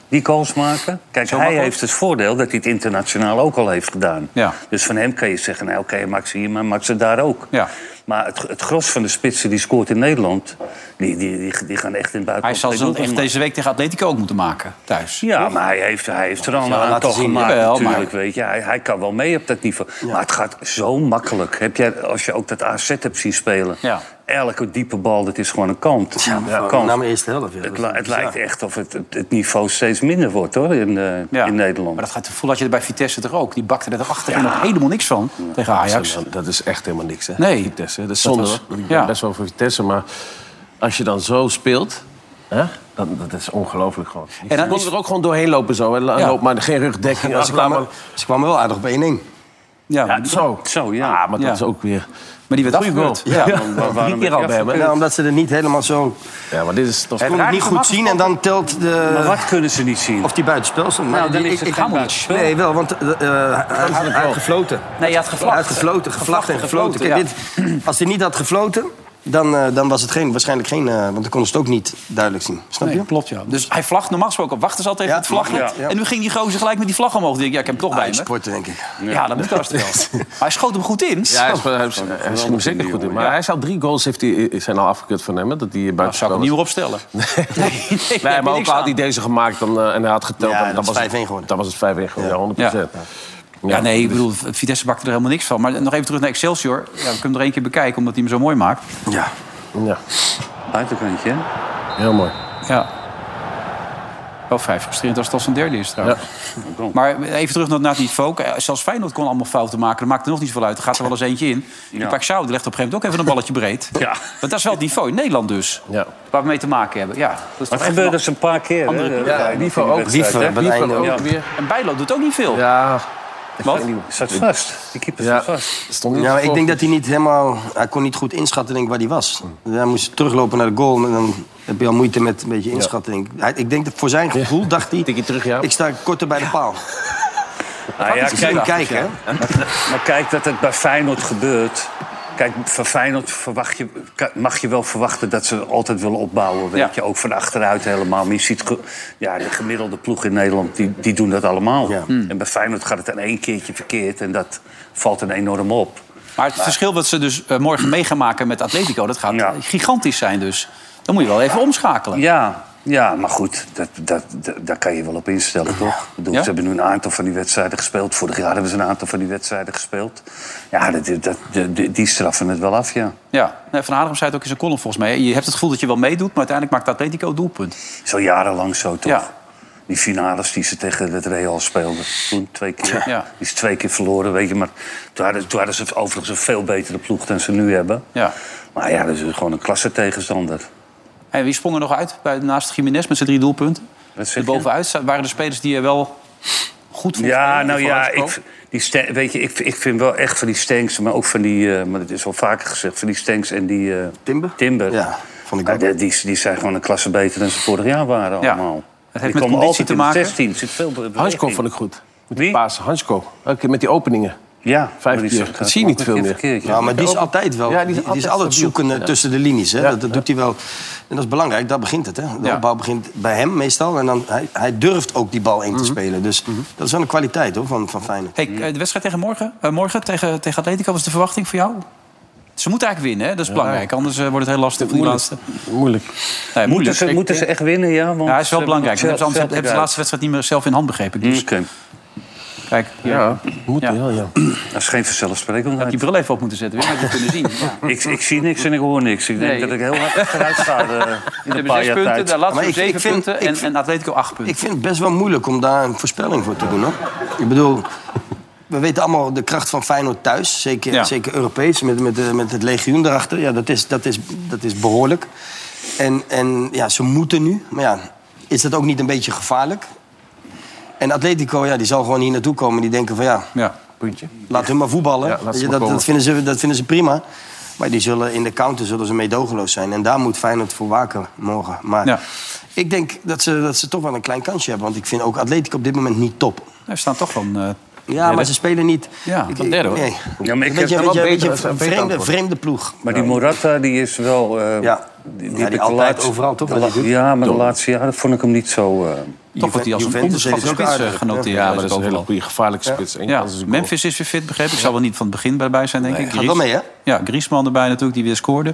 Speaker 5: die goals maken... Kijk,
Speaker 2: Zo
Speaker 5: hij
Speaker 2: makkelijk?
Speaker 5: heeft het voordeel dat hij het internationaal ook al heeft gedaan.
Speaker 2: Ja.
Speaker 5: Dus van hem kan je zeggen, nou, oké, maak ze hier, maar maak ze daar ook.
Speaker 2: Ja.
Speaker 5: Maar het, het gros van de spitsen die scoort in Nederland... die, die, die, die gaan echt in het buitenland...
Speaker 2: Hij zal
Speaker 5: geen
Speaker 2: ze dan
Speaker 5: doelpunt
Speaker 2: echt
Speaker 5: maken.
Speaker 2: deze week tegen Atletico ook moeten maken, thuis.
Speaker 5: Ja, maar hij heeft, hij heeft er al een
Speaker 4: laten
Speaker 5: aantal
Speaker 4: zien.
Speaker 5: gemaakt
Speaker 2: Jawel,
Speaker 5: natuurlijk. Weet je. Hij, hij kan wel mee op dat niveau. Maar het gaat zo makkelijk. Heb jij, als je ook dat AZ hebt zien spelen.
Speaker 2: Ja.
Speaker 5: Elke diepe bal, dat is gewoon een kant.
Speaker 4: Ja,
Speaker 5: Een kant.
Speaker 4: Na mijn Nou, eerste helft. ja.
Speaker 5: Het, li- het lijkt echt of het, het- het niveau steeds minder wordt hoor, in, eh,
Speaker 2: Ja.
Speaker 5: in Nederland.
Speaker 2: Maar dat gaat het gevoel had je er bij Vitesse toch ook. Die bakte er achter en nog helemaal niks van tegen Ajax.
Speaker 3: Dat is echt helemaal niks, hè?
Speaker 2: Nee.
Speaker 3: Vitesse. Dat is zonde,
Speaker 2: was-
Speaker 3: hoor. Ik
Speaker 2: ja.
Speaker 3: ben best wel voor Vitesse, maar als je dan zo speelt... Hè? Dan, dat is ongelooflijk gewoon.
Speaker 2: dan
Speaker 3: En dan
Speaker 2: is-
Speaker 3: er ook gewoon doorheen lopen zo. En la-
Speaker 2: Ja.
Speaker 3: loop maar geen rugdekking.
Speaker 4: Ja,
Speaker 3: als
Speaker 4: ze,
Speaker 3: ik laat maar...
Speaker 4: kwamen, ze kwamen wel aardig op 1-1.
Speaker 2: Ja,
Speaker 3: Ja, zo.
Speaker 5: Zo, ja.
Speaker 3: Ah, maar dat
Speaker 2: Ja.
Speaker 3: is ook weer...
Speaker 2: maar die werd
Speaker 3: Goeie goal.
Speaker 2: afgekeurd. Ja.
Speaker 3: Ja, maar Drie
Speaker 5: waarom
Speaker 3: keer
Speaker 5: heb
Speaker 3: al
Speaker 5: je
Speaker 3: bij hem, hè?
Speaker 4: Nou, omdat ze er niet helemaal zo...
Speaker 3: Ja, maar dit is toch...
Speaker 4: Kon het niet goed zien en dan telt
Speaker 5: Maar
Speaker 4: de...
Speaker 5: wat kunnen ze niet zien?
Speaker 4: Of die buitenspel stond.
Speaker 5: nou, dan
Speaker 4: die-
Speaker 5: is het
Speaker 4: ik-
Speaker 5: geen
Speaker 2: Hamlet.
Speaker 5: buitenspel.
Speaker 4: Nee, wel, want eh, eh, hij, hij had gefloten.
Speaker 2: Nee, je had
Speaker 4: Hij
Speaker 2: gevlacht.
Speaker 4: had gefloten, gevlacht en gefloten. Kijk, dit, als hij niet had gefloten, dan, eh, dan was het geen, waarschijnlijk geen... eh, want dan konden ze het ook niet duidelijk zien. Snap je?
Speaker 2: Nee, klopt ja. Dus hij vlagt normaal gesproken. Wachten ze altijd
Speaker 4: Ja,
Speaker 2: op het vlaggen.
Speaker 4: ja. Ja.
Speaker 2: En nu ging die gozer gelijk met die vlag omhoog. Ik denk, ja, ik heb hem toch bij me.
Speaker 4: Hij sporten, denk ik.
Speaker 2: Ja, dat moet hartstikke wel. Maar hij schoot hem goed in.
Speaker 3: Ja, hij is, hij is, hij is hem zeker goed in. Maar hij is al drie goals heeft hij, zijn al afgekeurd van hem. hè, Dat hij
Speaker 2: Nou,
Speaker 3: buiten
Speaker 2: zou ik hem niet meer opstellen. Nee,
Speaker 3: Nee, maar ook al had hij deze gemaakt dan, eh, en hij had geteld...
Speaker 4: Ja,
Speaker 3: dan-
Speaker 4: dat
Speaker 3: dan
Speaker 4: is
Speaker 3: was het-
Speaker 4: 5-1 geworden.
Speaker 3: Dan was het 5-1 geworden, ja, 100%.
Speaker 2: Ja, nee, ik bedoel, Vitesse bakte er helemaal niks van. Maar nog even terug naar Excelsior. Ja, we kunnen hem er één keer bekijken, omdat hij hem zo mooi maakt.
Speaker 4: Ja.
Speaker 3: Ja,
Speaker 5: Buitenkantje, hè?
Speaker 3: heel mooi.
Speaker 2: Ja. Wel vrij frustrerend als het al zijn derde is trouwens.
Speaker 5: Ja.
Speaker 2: Maar even terug naar, naar die Folk. Eh, Zelfs Feyenoord kon allemaal fouten maken. Dat maakt er nog niet veel uit. Er gaat er wel eens eentje in. Die
Speaker 5: Ja.
Speaker 2: Pak Zou die legt op een gegeven moment ook even een balletje breed.
Speaker 5: Ja.
Speaker 2: Want dat is wel het niveau in Nederland dus.
Speaker 3: Ja.
Speaker 2: Waar we mee te maken hebben. Ja, dat is toch
Speaker 5: Maar het
Speaker 2: echt
Speaker 5: gebeurde
Speaker 2: een-
Speaker 5: dus een paar keer.
Speaker 2: Andere
Speaker 5: hè,
Speaker 2: club.
Speaker 5: bij-
Speaker 3: Ja, Wiever
Speaker 5: in die
Speaker 3: ook.
Speaker 5: wedstrijd,
Speaker 4: Wiever,
Speaker 5: hè?
Speaker 4: bij het
Speaker 3: Wiever
Speaker 4: einde ook.
Speaker 3: ook
Speaker 5: Ja.
Speaker 3: weer.
Speaker 2: En Bijlo doet ook niet veel.
Speaker 3: Ja,
Speaker 2: Wat?
Speaker 5: Zat vast. De keeper
Speaker 3: ja.
Speaker 5: zat vast.
Speaker 3: Stond niet
Speaker 4: Ja, maar ik
Speaker 3: voor.
Speaker 4: denk dat hij niet helemaal... Hij kon niet goed inschatten denk ik, waar hij was. Hij moest teruglopen naar de goal. En dan heb je al moeite met een beetje inschatten. denk ik. Hij- Ik denk dat voor zijn gevoel dacht hij...
Speaker 3: Tikkie terug, ja. Ah,
Speaker 4: Ik sta korter bij de paal.
Speaker 5: Nou ja,
Speaker 4: Ik zie
Speaker 5: kijk,
Speaker 4: hem kijken, hè.
Speaker 5: maar kijk dat het bij Feyenoord gebeurt. Kijk, van Feyenoord verwacht je, ka- mag je wel verwachten dat ze altijd willen opbouwen. Weet
Speaker 2: Ja.
Speaker 5: je, ook van achteruit helemaal. Maar je ziet, ge- ja, de gemiddelde ploeg in Nederland, die, die doen dat allemaal. Hmm.
Speaker 4: Ja.
Speaker 5: En bij Feyenoord gaat het in één keertje verkeerd. En dat valt een enorm op.
Speaker 2: Maar het verschil wat ze dus eh, morgen mee gaan maken met Atletico... dat gaat
Speaker 5: Ja.
Speaker 2: eh, gigantisch zijn dus. Dan moet je wel even omschakelen.
Speaker 5: Ja, ja maar goed, dat, dat, dat, daar kan je wel op instellen, toch? Ik bedoel,
Speaker 2: Ja?
Speaker 5: Ze hebben nu een aantal van die wedstrijden gespeeld. Vorig jaar hebben ze een aantal van die wedstrijden gespeeld. Ja, dat, dat, die, die straffen het wel af, ja.
Speaker 2: Ja. Nee, Van Adem zei het ook in zijn column volgens mij. Je hebt het gevoel dat je wel meedoet... maar uiteindelijk maakt Atletico het doelpunt.
Speaker 5: Zo jarenlang zo, toch?
Speaker 2: Ja.
Speaker 5: Die finales die ze tegen het Real speelden. Toen twee keer.
Speaker 2: Ja.
Speaker 5: Die is twee keer verloren, weet je. Maar toen hadden, toen hadden ze overigens een veel betere ploeg dan ze nu hebben.
Speaker 2: Ja.
Speaker 5: Maar ja, dat is gewoon een klasse tegenstander.
Speaker 2: En wie sprong er nog uit bij, naast Jiménez met zijn drie doelpunten?
Speaker 5: Wat zeg
Speaker 2: Er
Speaker 5: je?
Speaker 2: bovenuit za- waren de spelers die je wel goed vond.
Speaker 5: Ja,
Speaker 2: spelen,
Speaker 5: nou
Speaker 2: die
Speaker 5: ja,
Speaker 2: vooruit
Speaker 5: ik, die Sten- weet je, ik, ik vind wel echt van die Stanks, maar ook van die, eh, maar het is al vaker gezegd, van die Stanks en die eh,
Speaker 4: Timber?
Speaker 5: Timber.
Speaker 4: Ja, vond ik ook.
Speaker 5: die, die, die zijn gewoon een klasse beter dan ze vorig jaar waren
Speaker 2: Ja.
Speaker 5: allemaal.
Speaker 2: Het heeft
Speaker 5: Die
Speaker 2: met
Speaker 5: komen
Speaker 2: conditie
Speaker 5: altijd
Speaker 2: te
Speaker 5: in de
Speaker 2: maken.
Speaker 5: 16, zit veel beweging.
Speaker 3: Hansko vond ik goed. Met die
Speaker 5: Wie?
Speaker 3: paas, Hansko. Elke keer met die openingen.
Speaker 5: Ja,
Speaker 3: Vijf
Speaker 5: maar die
Speaker 3: keer.
Speaker 5: zag-
Speaker 3: Dat zie je niet
Speaker 5: ook
Speaker 3: veel
Speaker 5: een
Speaker 3: meer.
Speaker 5: verkeerd, ja.
Speaker 4: Ja, maar die is altijd wel.
Speaker 3: Ja, die
Speaker 4: die, die
Speaker 3: is
Speaker 4: is
Speaker 3: altijd
Speaker 4: altijd
Speaker 3: stabiel.
Speaker 4: zoekende
Speaker 3: Ja.
Speaker 4: tussen de linies. Hè?
Speaker 3: Ja,
Speaker 4: dat, dat doet hij wel. En dat is belangrijk, daar begint het. Hè? De
Speaker 2: Ja.
Speaker 4: opbouw begint bij hem meestal. En dan, hij, hij durft ook die bal in
Speaker 3: Mhm.
Speaker 4: te spelen. Dus dat is wel een kwaliteit hoor, van, van Feyenoord.
Speaker 2: Hey, eh, de wedstrijd tegen morgen, eh, morgen tegen, tegen Atletico, was de verwachting voor jou? Ze moeten eigenlijk winnen, hè? dat is belangrijk. Anders eh, wordt het heel lastig voor die laatste.
Speaker 3: Moeilijk.
Speaker 2: Nee,
Speaker 5: Moeten,
Speaker 2: moeilijk.
Speaker 5: ze, moeten ze echt winnen, ja? Want
Speaker 2: dus Ja, hij is wel
Speaker 5: ze-
Speaker 2: belangrijk.
Speaker 5: ze-
Speaker 2: Ze, hebben ze,
Speaker 5: ze-
Speaker 2: anders- hebben ze de laatste wedstrijd niet meer zelf in hand begrepen. Dus
Speaker 5: Oké.
Speaker 2: kijk, ja.
Speaker 3: Ja, moet
Speaker 2: Ja.
Speaker 3: wel, ja.
Speaker 5: Dat is geen
Speaker 2: heb
Speaker 5: vanzelfsprekendheid.
Speaker 2: je bril even op moeten zetten. Weer, had je kunnen zien. Ja.
Speaker 5: Ik, ik zie niks en ik hoor niks. Ik denk
Speaker 2: Nee.
Speaker 5: dat ik heel hard achteruit ga eh, in
Speaker 2: Ze
Speaker 5: een
Speaker 2: hebben
Speaker 5: paar
Speaker 2: zes
Speaker 5: jaar
Speaker 2: punten,
Speaker 5: tijd.
Speaker 2: de laatste
Speaker 4: Maar ik-
Speaker 2: zeven
Speaker 4: ik vind-
Speaker 2: punten
Speaker 4: ik
Speaker 2: en,
Speaker 4: vind-
Speaker 2: en Atletico acht punten.
Speaker 4: Ik vind het best wel moeilijk om daar een voorspelling voor te doen. Hoor. Ik bedoel, we weten allemaal de kracht van Feyenoord thuis. Zeker,
Speaker 2: Ja.
Speaker 4: zeker Europees, met, met, de- met het legioen erachter. Ja, dat, is, dat, is, dat is behoorlijk. En, en ja, ze moeten nu. Maar ja, is dat ook niet een beetje gevaarlijk? En Atletico, ja, die zal gewoon hier naartoe komen. Die denken van ja,
Speaker 2: Ja.
Speaker 3: Puntje.
Speaker 4: Laat hun maar voetballen.
Speaker 3: Ja, laat ze
Speaker 4: Ja,
Speaker 3: maar
Speaker 4: dat,
Speaker 3: komen.
Speaker 4: dat, vinden ze, dat vinden ze prima. Maar die zullen in de counter zullen ze meedogenloos zijn. En daar moet Feyenoord voor waken morgen. Maar
Speaker 2: Ja.
Speaker 4: ik denk dat ze, dat ze toch wel een klein kansje hebben. Want ik vind ook Atletico op dit moment niet top.
Speaker 2: Nou, ze staan toch van... eh,
Speaker 4: Ja, maar ze spelen niet...
Speaker 2: Ja,
Speaker 4: ik,
Speaker 2: tot derde, hoor.
Speaker 4: Nee.
Speaker 5: Ja, maar ik
Speaker 4: Weet je,
Speaker 5: heb-
Speaker 4: weet je,
Speaker 3: beter,
Speaker 4: weet je,
Speaker 3: dat is een beter
Speaker 4: vreemde,
Speaker 3: antwoord.
Speaker 4: vreemde ploeg.
Speaker 5: Maar die Morata, die is wel... eh,
Speaker 4: Ja.
Speaker 5: Die, heb
Speaker 4: Ja, die
Speaker 5: ik de
Speaker 4: altijd
Speaker 5: laatste-
Speaker 4: overal, toch,
Speaker 5: de
Speaker 4: wat
Speaker 5: la-
Speaker 4: hij doet?
Speaker 5: ja, maar de laatste jaren vond ik hem niet zo... eh,
Speaker 2: Toch wordt hij als een
Speaker 4: Juventus
Speaker 2: onderschatte
Speaker 4: heeft ook
Speaker 2: spits eh,
Speaker 4: aardig.
Speaker 2: genoteerd.
Speaker 3: Ja,
Speaker 2: bij
Speaker 3: maar dat is een hele
Speaker 2: Bovenland.
Speaker 3: goede gevaarlijke spits. Eén
Speaker 2: Ja,
Speaker 3: kans is een goal.
Speaker 2: Memphis is weer fit, begreep ik. Zal wel niet van het begin bij zijn, denk ik.
Speaker 4: gaat wel mee, hè?
Speaker 2: Ja, Griezmann erbij natuurlijk, die weer scoorde.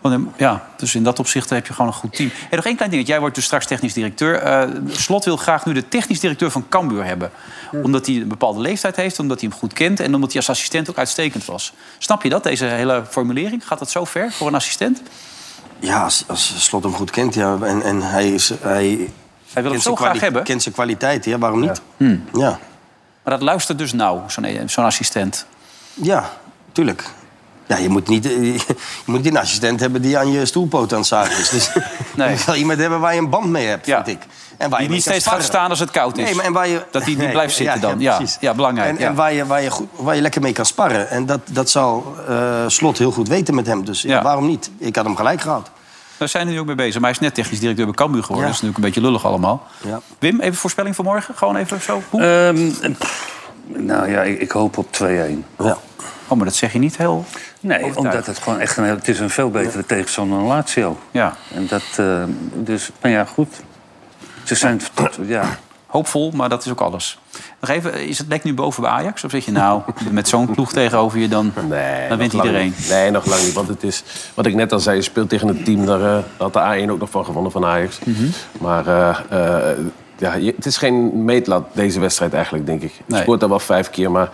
Speaker 2: Want, eh, Ja, dus in dat opzicht heb je gewoon een goed team. En nog één klein dingetje. Jij wordt dus straks technisch directeur. Eh, Slot wil graag nu de technisch directeur van Cambuur hebben. Omdat hij een bepaalde leeftijd heeft, omdat hij hem goed kent... en omdat hij als assistent ook uitstekend was. Snap je dat, deze hele formulering? Gaat dat zo ver voor een assistent?
Speaker 4: Ja, als, als Slot hem goed kent. Ja, en, en hij is... Hij,
Speaker 2: Hij wil hem
Speaker 4: kent
Speaker 2: zo
Speaker 4: zijn
Speaker 2: graag
Speaker 4: kwali-
Speaker 2: hebben. Hm.
Speaker 4: Kent zijn kwaliteit, ja, waarom niet? Ja.
Speaker 2: Maar dat luistert dus nauw, zo'n zo'n assistent.
Speaker 4: Ja, tuurlijk. Ja, je moet niet, eh, je moet niet een assistent hebben die aan je stoelpoot aan het zagen is. Dus
Speaker 2: Nee.
Speaker 4: je moet wel iemand hebben waar je een band mee hebt,
Speaker 2: Ja.
Speaker 4: vind ik. En waar
Speaker 2: Die
Speaker 4: mee
Speaker 2: niet
Speaker 4: kan
Speaker 2: steeds gaat
Speaker 4: sparren.
Speaker 2: staan als het koud is.
Speaker 4: Nee, maar en waar je,
Speaker 2: Dat die niet
Speaker 4: Nee,
Speaker 2: blijft zitten dan. Ja,
Speaker 4: precies.
Speaker 2: ja, belangrijk,
Speaker 4: En,
Speaker 2: ja.
Speaker 4: en waar, je, waar, je goed, waar je lekker mee kan sparren. En dat, dat zal eh, Slot heel goed weten met hem. Dus ja,
Speaker 2: Ja.
Speaker 4: waarom niet? Ik had hem gelijk gehad.
Speaker 2: Daar zijn we nu ook mee bezig. Maar hij is net technisch directeur bij Cambuur geworden.
Speaker 4: Ja.
Speaker 2: Dat is natuurlijk een beetje lullig allemaal.
Speaker 4: Ja.
Speaker 2: Wim, even voorspelling voor morgen? Gewoon even zo. Hoe?
Speaker 5: ehm, pff, nou ja, ik, ik hoop op 2-1.
Speaker 4: Ja.
Speaker 2: Oh, maar dat zeg je niet heel...
Speaker 5: Nee,
Speaker 2: Overtuigd.
Speaker 5: omdat het gewoon echt een, heel- het is een veel betere tegenstander dan Lazio.
Speaker 2: Ja,
Speaker 5: En dat, eh, dus, maar ja, goed. Ze zijn tot, ja.
Speaker 2: hoopvol, maar dat is ook alles. Nog even, is het lek nu boven bij Ajax? Of zeg je nou, met zo'n ploeg tegenover je dan...
Speaker 3: Nee,
Speaker 2: Dan wint
Speaker 3: nog lang
Speaker 2: iedereen.
Speaker 3: niet. Nee, nog lang niet. Want het is, wat ik net al zei, je speelt tegen een team. Daar eh, had de A1 ook nog van gewonnen van Ajax.
Speaker 10: Mhm.
Speaker 3: Maar eh, eh, ja, je- het is geen meetlat, deze wedstrijd eigenlijk, denk ik. Je
Speaker 2: Nee.
Speaker 3: scoort daar wel vijf keer, maar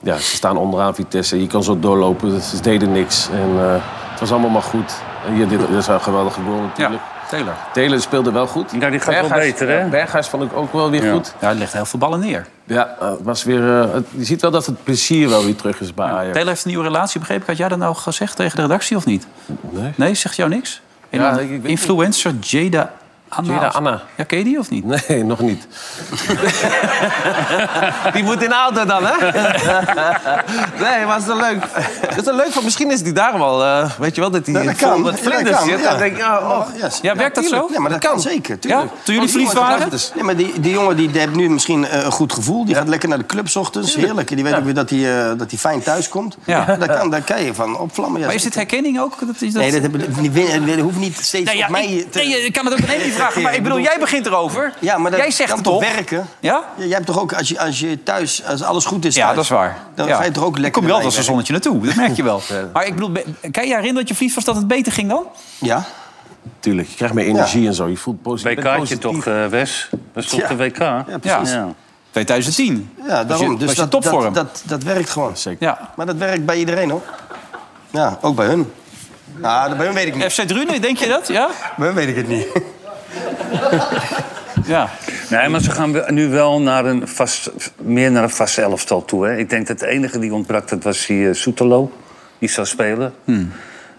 Speaker 3: ja, ze staan onderaan Vitesse. Je kan zo doorlopen, ze deden niks. En, eh, het was allemaal maar goed. En hier, dit, dit is wel een geweldige goal natuurlijk.
Speaker 2: Taylor.
Speaker 3: Telen speelde wel goed.
Speaker 5: Ja, die gaat wel beter, hè?
Speaker 3: ja, Berghuis vond ik ook wel weer
Speaker 5: Ja.
Speaker 3: goed.
Speaker 2: Ja, er ligt heel veel ballen neer.
Speaker 3: Ja, eh, het was weer, eh, het- je ziet wel dat het plezier wel weer terug is bij Ajax.
Speaker 2: Taylor heeft een nieuwe relatie, begreep ik. Had jij dat nou gezegd tegen de redactie of niet?
Speaker 3: Nee.
Speaker 2: Nee, zegt jou niks? En
Speaker 3: Ja,
Speaker 2: dan
Speaker 3: ik- ik weet
Speaker 2: influencer Jada Anna.
Speaker 3: Jada
Speaker 2: of-
Speaker 3: Anna.
Speaker 2: Ja, ken je die of niet?
Speaker 3: Nee, nog niet.
Speaker 9: Die moet in de auto dan, hè? nee, maar het is wel leuk. Het is wel leuk, want misschien is die daarom al... eh, weet je wel, dat die
Speaker 4: dat
Speaker 9: vol
Speaker 4: kan.
Speaker 9: met
Speaker 4: Ja,
Speaker 9: vlinders
Speaker 4: dat kan,
Speaker 9: zit.
Speaker 4: ja.
Speaker 9: Dan denk je, oh, oh.
Speaker 4: yes.
Speaker 2: Ja, werkt dat zo?
Speaker 4: Ja, maar dat, kan. zeker, tuurlijk.
Speaker 2: Ja? Toen jullie
Speaker 4: Want die
Speaker 2: verliefd
Speaker 4: jongen-
Speaker 2: waren?
Speaker 4: Nee, maar die, die jongen die, die heeft nu misschien eh, een goed gevoel. Die gaat lekker naar de club 's ochtends. Heerlijk. Die weet ook weer dat hij eh, dat hij fijn thuis komt.
Speaker 2: Ja.
Speaker 4: Daar, kan, daar kan je van opvlammen. Ja,
Speaker 2: Maar is dit
Speaker 4: zeker.
Speaker 2: herkenning ook? Dat is, dat...
Speaker 4: Nee, dat, heb, ik- die win- dat hoeft niet steeds
Speaker 2: Nee, ja,
Speaker 4: op mij
Speaker 2: ik,
Speaker 4: te...
Speaker 2: nee, je kan het ook aan Amy vragen. Maar ik bedoel, jij begint erover.
Speaker 4: Ja, maar dat
Speaker 2: jij zegt
Speaker 4: kan
Speaker 2: toch?
Speaker 4: werken?
Speaker 2: Ja?
Speaker 4: Ja, jij hebt toch ook, als je, als je thuis, als alles goed is
Speaker 2: Ja,
Speaker 4: thuis,
Speaker 2: dat is waar.
Speaker 4: Dan
Speaker 2: ja.
Speaker 4: ga je toch ook
Speaker 2: Dan
Speaker 4: lekker
Speaker 2: kom je altijd als een
Speaker 4: erbij
Speaker 2: zonnetje naartoe. Dat merk je wel. Maar ik bedoel, be- kan je je herinneren dat je verliefd was dat het beter ging dan?
Speaker 4: Ja?
Speaker 3: Tuurlijk, je krijgt meer energie en zo. Je voelt posi- je bent
Speaker 5: WK'tje
Speaker 3: positief.
Speaker 5: toch, eh, Wes? Dat is toch
Speaker 4: Ja.
Speaker 5: de WK? Ja,
Speaker 2: precies. 2010.
Speaker 4: Ja, daarom.
Speaker 2: je-
Speaker 4: dus
Speaker 2: was je
Speaker 4: dat,
Speaker 2: topvorm?
Speaker 4: dat, dat, dat werkt gewoon.
Speaker 2: Ja.
Speaker 4: Maar dat werkt bij iedereen, hoor. Ja, ook bij hun. Nou, dat- bij hun weet ik niet.
Speaker 2: FC Drunen, denk je dat? Ja?
Speaker 4: Bij hun weet ik het niet.
Speaker 2: Ja.
Speaker 5: Nee, maar ze gaan we- nu wel naar een vast, meer naar een vast elftal toe. Hè. Ik denk dat de enige die ontbrak, dat was die eh, Soetelo. Die zou spelen.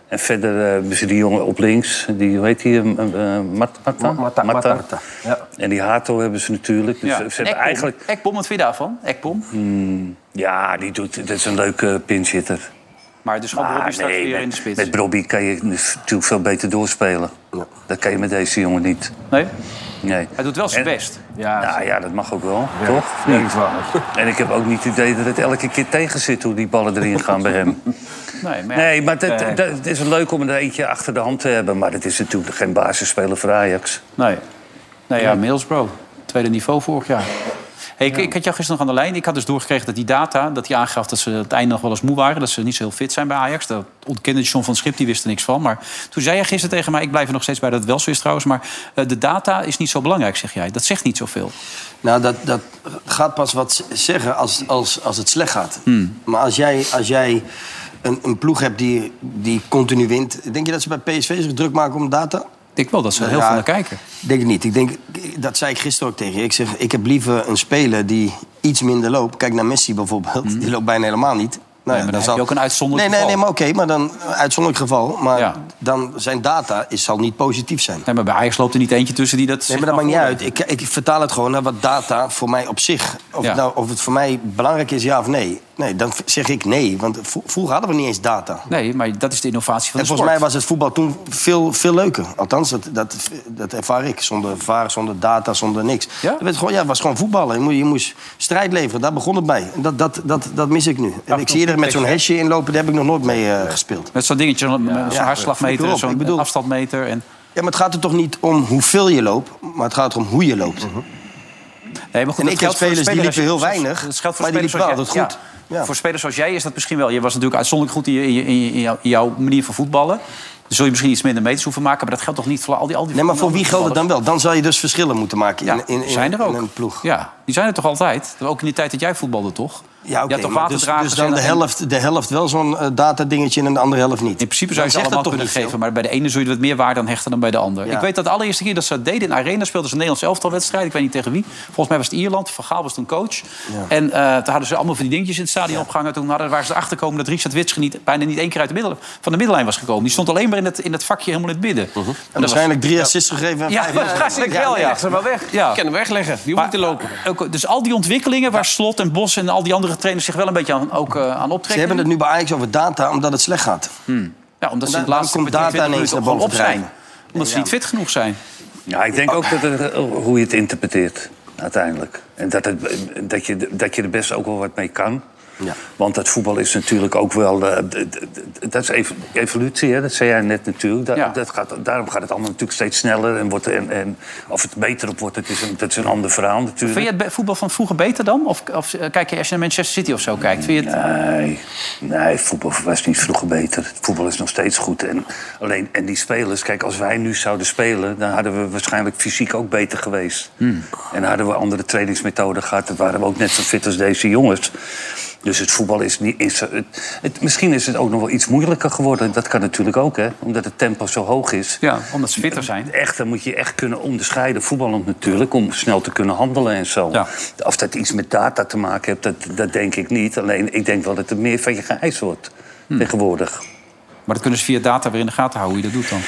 Speaker 5: En verder eh, hebben ze die jongen op links. Die, hoe heet die? eh, eh, Mat- Mata?
Speaker 3: Mata-
Speaker 5: Mata.
Speaker 3: Mata. Ja.
Speaker 5: En die Hato hebben ze natuurlijk. Dus
Speaker 2: ja.
Speaker 5: ze
Speaker 2: En
Speaker 5: hebben
Speaker 2: Ekpom.
Speaker 5: eigenlijk...
Speaker 2: Ekpom, wat vind je daarvan? Ekpom.
Speaker 5: Ja, die doet, dat is een leuke pinchitter.
Speaker 2: Maar dus gewoon Robbie straks weer in de
Speaker 5: Ah, met,
Speaker 2: spits.
Speaker 5: met Robbie kan je dus natuurlijk veel beter doorspelen. Dat kan je met deze jongen niet.
Speaker 2: Nee?
Speaker 5: Nee.
Speaker 2: Hij doet wel zijn
Speaker 5: En-
Speaker 2: best.
Speaker 3: Ja,
Speaker 5: nou ja, dat mag ook wel, toch?
Speaker 3: denk het wel.
Speaker 5: En ik heb ook niet het idee dat het elke keer tegen zit hoe die ballen erin gaan bij hem.
Speaker 2: Nee, maar, ja.
Speaker 5: Nee, maar dat-
Speaker 2: Nee.
Speaker 5: dat- het is leuk om er eentje achter de hand te hebben. Maar dat is natuurlijk geen basisspeler voor Ajax.
Speaker 2: Nee. Nee, ja, Middlesbrough. Tweede niveau vorig jaar. Hey, ik, ik had jou gisteren nog aan de lijn. Ik had dus doorgekregen dat die data, dat die aangaf dat ze het einde nog wel eens moe waren. Dat ze niet zo heel fit zijn bij Ajax. Dat ontkende John van Schip, die wist er niks van. Maar toen zei jij gisteren tegen mij, ik blijf er nog steeds bij dat het wel zo is trouwens. Maar eh, de data is niet zo belangrijk, zeg jij. Dat zegt niet zoveel.
Speaker 4: Nou, dat, dat gaat pas wat z- zeggen als, als, als het slecht gaat.
Speaker 2: Hmm.
Speaker 4: Maar als jij, als jij een, een ploeg hebt die, die continu wint... Denk je dat ze bij PSV zich druk maken om data?
Speaker 2: Ik denk wel dat ze er heel
Speaker 4: Ja,
Speaker 2: veel naar kijken.
Speaker 4: Denk ik niet. Ik denk, dat zei ik gisteren ook tegen je. Ik zeg, ik heb liever een speler die iets minder loopt. Kijk naar Messi bijvoorbeeld. Die loopt bijna helemaal niet. Nou,
Speaker 2: Hmm. maar dan heb je ook een uitzonderlijk
Speaker 4: nee, nee,
Speaker 2: geval.
Speaker 4: Nee, maar oké, maar dan een uitzonderlijk geval. Maar
Speaker 2: Ja.
Speaker 4: dan zijn data is, zal niet positief zijn.
Speaker 2: Nee, maar bij Ajax loopt er niet eentje tussen die dat...
Speaker 4: Nee,
Speaker 2: zich
Speaker 4: maar dat
Speaker 2: mag
Speaker 4: maakt niet uit.
Speaker 2: voorleggen.
Speaker 4: Ik, ik vertaal het gewoon naar wat data voor mij op zich. Of,
Speaker 2: Ja.
Speaker 4: het, nou, of het voor mij belangrijk is, ja of nee. Nee, dan v- zeg ik nee. Want v- vroeger hadden we niet eens data.
Speaker 2: Nee, maar dat is de innovatie van
Speaker 4: En
Speaker 2: de sport.
Speaker 4: volgens mij was het voetbal toen veel, veel leuker. Althans, dat, dat, dat ervaar ik. Zonder vaar, zonder data, zonder niks.
Speaker 2: Ja?
Speaker 4: Het, werd gewoon, ja, het was gewoon voetballen. Je moest, je moest strijd leveren, daar begon het bij. En dat, dat, dat, dat mis ik nu. En ik zie er met zo'n hesje inlopen, daar heb ik nog nooit mee eh, gespeeld.
Speaker 2: Met zo'n dingetje, zo'n zo'n
Speaker 4: ja,
Speaker 2: hartslagmeter,
Speaker 4: ik bedoel,
Speaker 2: zo'n
Speaker 4: ik bedoel-
Speaker 2: afstandmeter. En...
Speaker 4: Ja, maar het gaat er toch niet om hoeveel je loopt, maar het gaat erom hoe je
Speaker 2: Mhm.
Speaker 4: loopt.
Speaker 2: Nee, maar goed,
Speaker 4: En
Speaker 2: dat
Speaker 4: ik
Speaker 2: geldt
Speaker 4: heb
Speaker 2: voor
Speaker 4: spelers
Speaker 2: als
Speaker 4: die
Speaker 2: je-
Speaker 4: liepen heel
Speaker 2: soms-
Speaker 4: weinig,
Speaker 2: Dat geldt voor
Speaker 4: maar die
Speaker 2: spelers als
Speaker 4: liepen wel
Speaker 2: jij-
Speaker 4: altijd goed. Ja.
Speaker 2: Voor spelers als jij is dat misschien wel. Je was natuurlijk uitzonderlijk goed in, je- in, je- in, je- in jou- in jouw manier van voetballen. Dan zul je misschien iets minder meters hoeven maken, maar dat geldt toch niet voor al die... Al die
Speaker 4: Nee, maar voor wie geldt het
Speaker 2: voetballers?
Speaker 4: dan wel? Dan zal je dus verschillen moeten maken in,
Speaker 2: Ja,
Speaker 4: in, in,
Speaker 2: zijn er ook.
Speaker 4: in een ploeg.
Speaker 2: Ja, die zijn er toch altijd? Ook in de tijd dat jij voetbalde, toch?
Speaker 4: Ja,
Speaker 2: Je
Speaker 4: oké.
Speaker 2: had toch
Speaker 4: maar dus,
Speaker 2: waterdragers
Speaker 4: dus dan
Speaker 2: en-
Speaker 4: de
Speaker 2: en-
Speaker 4: helft, de helft wel zo'n eh, datadingetje en de andere helft niet.
Speaker 2: In principe zou je
Speaker 4: Dan
Speaker 2: ze
Speaker 4: zegt dat
Speaker 2: allemaal
Speaker 4: toch
Speaker 2: kunnen
Speaker 4: niet
Speaker 2: geven. Maar bij de ene zul je er wat meer waarde aan hechten dan bij de ander.
Speaker 4: Ja.
Speaker 2: Ik weet dat de allereerste keer dat ze dat deden in Arena speelden ze een Nederlands elftalwedstrijd. Ik weet niet tegen wie. Volgens mij was het Ierland. Van Gaal was toen coach. En eh, toen hadden ze allemaal van die dingetjes in het stadion opgehangen. Toen hadden, waren ze erachter gekomen dat Richard Witsche niet, bijna niet één keer uit de middel, van de middellijn was gekomen. Die stond alleen maar in het, in het vakje helemaal in het midden. En dat
Speaker 4: Mhm. En
Speaker 2: was-
Speaker 4: waarschijnlijk drie assists gegeven. en
Speaker 2: ja,
Speaker 4: vijf-
Speaker 2: waarschijnlijk wel, ja.
Speaker 9: Ze wel weg.
Speaker 2: Ja.
Speaker 9: Ik kan hem wegleggen. Die hoeft niet te lopen.
Speaker 2: Ook, dus al die ontwikkelingen waar Slot en Bos en al die andere trainers zich wel een beetje aan, ook, eh, aan optrekken.
Speaker 4: Ze hebben het nu bij Ajax over data omdat het slecht gaat.
Speaker 2: ja, omdat ze
Speaker 4: Dan-
Speaker 2: in het laatste
Speaker 4: dan komt
Speaker 2: kwartier,
Speaker 4: data
Speaker 2: 20
Speaker 4: ineens
Speaker 2: minuten
Speaker 4: naar
Speaker 2: gewoon op
Speaker 4: boven
Speaker 2: zijn. Omdat ze niet fit genoeg zijn.
Speaker 5: Ja, ik denk ook dat het, eh, hoe je eh, het interpreteert, uiteindelijk. En dat, het, dat, je, dat je er best ook wel wat mee kan. Want dat voetbal is natuurlijk ook wel... eh, d- d- d- dat is ev- evolutie, hè? dat zei jij net natuurlijk. Dat,
Speaker 2: Ja.
Speaker 5: dat gaat, daarom gaat het allemaal natuurlijk steeds sneller. En, wordt, en, en of het beter op wordt, dat is een, dat is een ander verhaal natuurlijk.
Speaker 2: Vind je het be- voetbal van vroeger beter dan? Of, of eh, kijk je als je naar Manchester City of zo kijkt? Vind je het...
Speaker 5: Nee, nee, voetbal was niet vroeger beter. Het voetbal is nog steeds goed. En, alleen, en die spelers, kijk, als wij nu zouden spelen... dan hadden we waarschijnlijk fysiek ook beter geweest.
Speaker 4: Hmm.
Speaker 5: En hadden we andere trainingsmethoden gehad... dan waren we ook net zo fit als deze jongens. Dus het voetbal is niet... Is, het, het- misschien is het ook nog wel iets moeilijker geworden. Dat kan natuurlijk ook, hè. Omdat het tempo zo hoog is. Eh,
Speaker 2: Ja, omdat ze fitter zijn.
Speaker 5: Echt, dan moet je echt kunnen onderscheiden, voetballend natuurlijk, om snel te kunnen handelen en zo.
Speaker 2: Ja.
Speaker 5: Of dat iets met data te maken heeft, dat, dat denk ik niet. Alleen ik denk wel dat er meer van je geëist wordt
Speaker 2: Hmm.
Speaker 5: tegenwoordig.
Speaker 2: Maar dat kunnen ze via data weer in de gaten houden hoe je dat doet dan.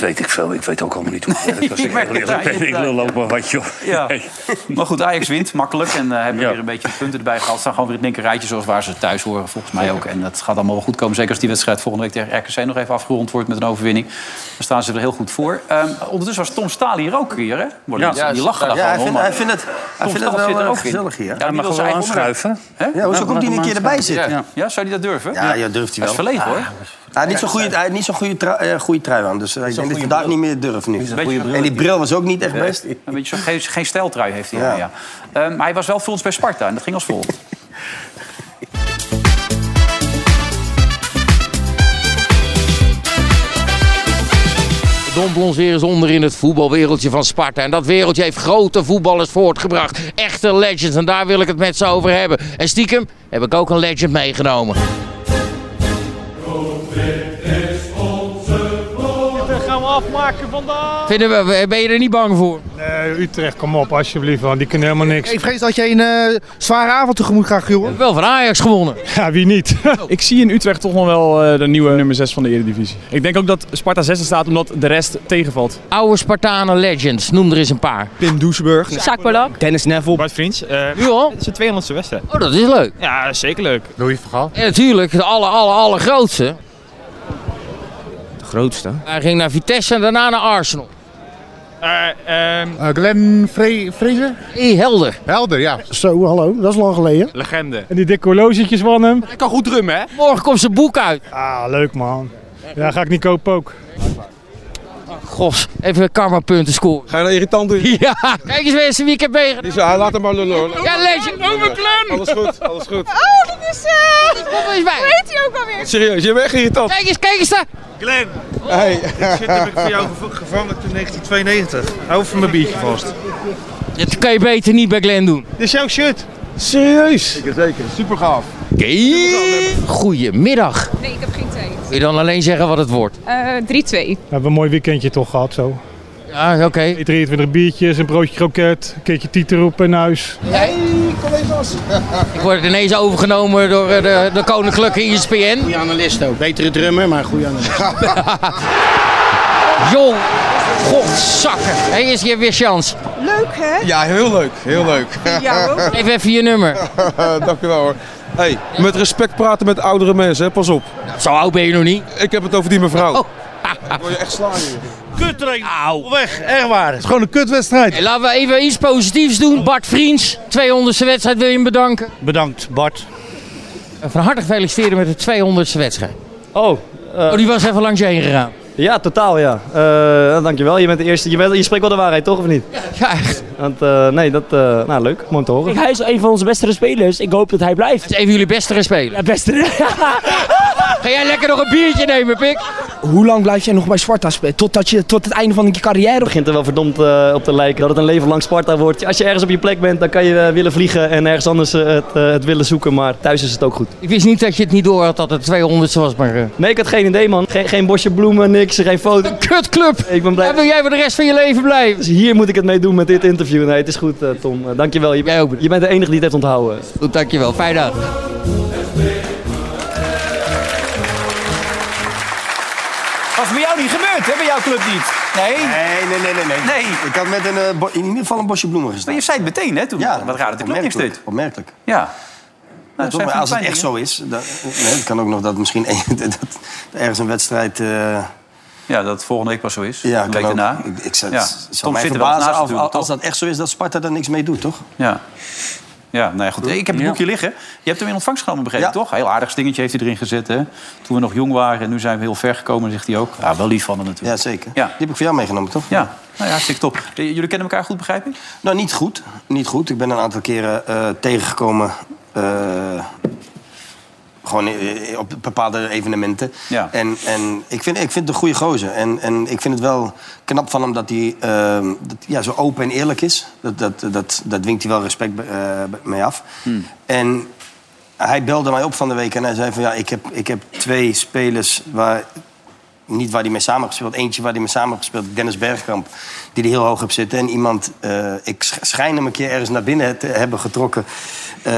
Speaker 5: Weet ik veel, ik weet ook allemaal niet hoe het werkt. Als ik
Speaker 2: Nee,
Speaker 5: heel eerlijk ben, ik lul ook maar wat, joh.
Speaker 2: Ja.
Speaker 5: Nee.
Speaker 2: Maar goed, Ajax wint makkelijk en eh, hebben
Speaker 5: Ja.
Speaker 2: weer een beetje punten erbij gehaald. Ze staan gewoon weer in het linkerrijtje zoals waar ze thuis horen, volgens mij ook. En dat gaat allemaal wel goed komen. Zeker als die wedstrijd volgende week tegen RKC nog even afgerond wordt met een overwinning. Dan staan ze er heel goed voor. Ehm, ondertussen was Tom Staal hier ook weer, hè? Ja, die lachen daar
Speaker 4: Ja, hij
Speaker 2: gewoon om.
Speaker 4: vindt, hij
Speaker 2: maar
Speaker 4: vindt het, hij
Speaker 2: Tom
Speaker 4: vindt het
Speaker 2: Staal zit
Speaker 4: wel
Speaker 2: er
Speaker 4: eh,
Speaker 2: ook in.
Speaker 4: gezellig hier.
Speaker 2: Ja,
Speaker 5: Hij
Speaker 2: die
Speaker 5: mag
Speaker 2: wil zijn
Speaker 5: gewoon
Speaker 2: eigen onderwerp.
Speaker 5: aanschuiven.
Speaker 4: Ja, hoezo komt hij een keer erbij zitten? Ja,
Speaker 2: Ja, zou hij dat durven?
Speaker 4: ja, durft hij
Speaker 2: Dat is
Speaker 4: wel. Ah,
Speaker 2: verlegen, hoor.
Speaker 4: Hij had niet zo'n goede, hij had niet zo'n goede, trui- eh, goede trui aan, dus eh, ik denk dat hij vandaag niet meer durft nu.
Speaker 2: goede bril.
Speaker 4: En die bril was ook niet echt best.
Speaker 2: Een beetje zo, geen, geen stijltrui heeft hij. Ja.
Speaker 4: Ja.
Speaker 2: Ja. Ehm, maar hij was wel voor ons bij Sparta en dat ging als volgt.
Speaker 10: Don Blonseer is onder in het voetbalwereldje van Sparta. En dat wereldje heeft grote voetballers voortgebracht. Echte legends. En daar wil ik het met ze over hebben. En stiekem heb ik ook een legend meegenomen. Vinden we, ben je er niet bang voor?
Speaker 11: Utrecht, kom op alsjeblieft, want die kunnen helemaal niks.
Speaker 12: Ik vrees dat jij een eh, zware avond tegemoet gaat, Giel.
Speaker 10: Wel van Ajax gewonnen.
Speaker 11: Ja, wie niet? Ik zie in Utrecht toch nog wel eh, de nieuwe nummer 6 van de Eredivisie. Ik denk ook dat Sparta 6 staat omdat de rest tegenvalt.
Speaker 10: Oude Spartanen legends. Noem er eens een paar.
Speaker 11: Pim Doesburg,
Speaker 7: Jacques Polak.
Speaker 12: Dennis Neville.
Speaker 11: Bart Vriends. eh,
Speaker 10: Nu al?
Speaker 11: is zijn 200ste wedstrijd.
Speaker 10: Oh, dat is leuk.
Speaker 11: Ja, zeker leuk.
Speaker 12: Louis van Gaal.
Speaker 10: En natuurlijk de aller, aller, allergrootste.
Speaker 12: De grootste.
Speaker 10: Hij ging naar Vitesse en daarna naar Arsenal.
Speaker 12: Eh, ehm, Glenn Fraser.
Speaker 10: E. Helder.
Speaker 12: Helder, ja.
Speaker 11: Zo, hallo, dat is lang geleden.
Speaker 12: Legende.
Speaker 11: En die dikke horlogetjes van hem.
Speaker 12: Hij kan goed drummen, hè?
Speaker 10: Morgen komt zijn boek uit.
Speaker 11: Ah, leuk man. Ja, ga ik niet kopen ook.
Speaker 10: Gos, even karma punten scoren.
Speaker 12: Ga je nou irritant doen?
Speaker 10: Ja, kijk eens mensen wie ik heb meegenomen.
Speaker 12: Ja, laat hem maar lullen hoor.
Speaker 10: Ja, legend. Over Klem.
Speaker 12: Alles goed, alles goed.
Speaker 13: Oh, dat is. eh
Speaker 10: Kom eens bij.
Speaker 13: weet hij ook alweer?
Speaker 12: Serieus, je bent echt irritant.
Speaker 10: Kijk eens, kijk eens daar.
Speaker 11: Glenn,
Speaker 12: Hey.
Speaker 11: dit heb Oh, ik voor jou gevangen toen 1992. Hou even mijn biertje vast.
Speaker 10: Dat kan je beter niet bij Glenn doen.
Speaker 11: Dit is jouw shirt. Serieus? Zeker, zeker. Super gaaf.
Speaker 10: Goedemiddag.
Speaker 13: Nee, ik heb geen tijd.
Speaker 10: Wil je dan alleen zeggen wat het wordt?
Speaker 13: Eh 3-2.
Speaker 11: We hebben een mooi weekendje toch gehad zo.
Speaker 10: Ja, oké.
Speaker 11: 23 biertjes, een broodje kroket, een keertje nou, tieterroep in huis.
Speaker 10: Ik word ineens overgenomen door eh, de, de koninklijke ISPN.
Speaker 12: Goede analist ook. Betere drummer, maar goede analist.
Speaker 10: Jong. Godzakken. Hé, hey, is hier weer chance.
Speaker 13: Leuk hè?
Speaker 12: Ja, heel leuk, heel leuk.
Speaker 13: Ja, ook.
Speaker 10: Geef even je nummer.
Speaker 12: Dankjewel hoor. Hey, met respect praten met oudere mensen, hè? pas op.
Speaker 10: Zo oud ben je nog niet.
Speaker 12: Ik heb het over die mevrouw.
Speaker 10: Oh.
Speaker 12: Ik wil je echt slaan hier.
Speaker 10: Auw.
Speaker 12: Weg, echt waar. Het is gewoon een kutwedstrijd.
Speaker 10: Hey, laten we even iets positiefs doen. Bart Vriends, 200ste wedstrijd wil je hem bedanken. Eh,
Speaker 12: Bedankt, Bart.
Speaker 10: Van harte gefeliciteerd met de 200ste wedstrijd.
Speaker 11: Oh,
Speaker 10: Oh, die was even langs je heen gegaan.
Speaker 11: ja, totaal ja. Eh, dankjewel, je bent de eerste. Je, bent, je spreekt wel de waarheid, toch of niet?
Speaker 10: Ja, echt.
Speaker 11: Want eh, nee, dat, eh, nou leuk, mooi om te horen.
Speaker 12: Hij is een van onze beste spelers. Ik hoop dat hij blijft.
Speaker 10: Dat is even jullie beste spelen.
Speaker 12: Beste.
Speaker 10: Ga jij lekker nog een biertje nemen, Pik?
Speaker 12: Hoe lang blijf jij nog bij Sparta spelen? Totdat je tot het einde van je carrière.
Speaker 11: begint er wel verdomd eh, op te lijken dat het een leven lang Sparta wordt. Als je ergens op je plek bent, dan kan je eh, willen vliegen en ergens anders eh, het, eh, het willen zoeken. Maar thuis is het ook goed.
Speaker 10: Ik wist niet dat je het niet door had dat het 200 was, maar. eh,
Speaker 11: Nee, ik had geen idee, man. Geen, geen bosje bloemen, niks, geen foto.
Speaker 10: Kutclub!
Speaker 11: Ik ben blij.
Speaker 10: Daar wil jij voor de rest van je leven blijven.
Speaker 11: Dus hier moet ik het mee doen met dit interview. Nee, het is goed, eh, Tom. Eh, dankjewel. Je,
Speaker 10: Jij ook bedankt.
Speaker 11: je bent de enige die het heeft onthouden.
Speaker 10: Goed, dankjewel. Fijn dag.
Speaker 2: Was bij jou niet gebeurd, hè? Bij jouw club niet. Nee.
Speaker 4: Nee, nee, nee, nee.
Speaker 2: Nee.
Speaker 4: Ik had met een, eh, bo- in ieder geval een bosje bloemen
Speaker 2: Maar
Speaker 4: gestaan.
Speaker 2: je zei het meteen, hè? Toen. wat raar dat de club niks
Speaker 4: opmerkelijk,
Speaker 2: deed.
Speaker 4: Opmerkelijk.
Speaker 2: Ja. Nou,
Speaker 4: Toch, maar als het echt zo is, dan, nee, het kan ook nog dat misschien een- dat ergens een wedstrijd... eh,
Speaker 2: Ja, dat het volgende week pas zo is.
Speaker 4: ja,
Speaker 2: een
Speaker 4: kan
Speaker 2: week
Speaker 4: ook.
Speaker 2: daarna.
Speaker 4: Ik, ik zou,
Speaker 2: Ja.
Speaker 4: het zou
Speaker 2: Tom
Speaker 4: mij
Speaker 2: zit er wel eens
Speaker 4: verbazen
Speaker 2: naast
Speaker 4: als,
Speaker 2: natuurlijk,
Speaker 4: als
Speaker 2: toch?
Speaker 4: dat echt zo is dat Sparta daar niks mee doet, toch?
Speaker 2: Ja. Ja, nou ja, goed. Ik heb het
Speaker 5: Ja.
Speaker 2: boekje liggen. Je hebt hem in ontvangst genomen, begreep ik, toch? Heel aardig dingetje heeft hij erin gezet, hè? Toen we nog jong waren en nu zijn we heel ver gekomen, zegt hij ook. Ja, wel lief van hem natuurlijk.
Speaker 4: Ja, zeker. Die heb ik voor jou meegenomen, toch?
Speaker 2: Ja, nou ja, hartstikke top. Eh, Jullie kennen elkaar goed, begrijp ik?
Speaker 4: Nou, niet goed. Niet goed. Ik ben een aantal keren eh, tegengekomen. eh, gewoon eh, op bepaalde evenementen.
Speaker 2: Ja.
Speaker 5: Eh,
Speaker 4: En, en ik, vind, ik vind het een goede gozer. En, en ik vind het wel knap van hem dat hij eh, dat, ja, zo open en eerlijk is. Dat, dat, dat, dat dwingt hij wel respect eh, mee af.
Speaker 5: hm.
Speaker 4: En hij belde mij op van de week en hij zei van... ja, ik heb, ik heb twee spelers waar... niet waar hij mee samen heeft gespeeld. Eentje waar hij mee samen heeft gespeeld, Dennis Bergkamp. Die hij heel hoog heb zitten. En iemand, eh, ik sch- schijn hem een keer ergens naar binnen te hebben getrokken. eh,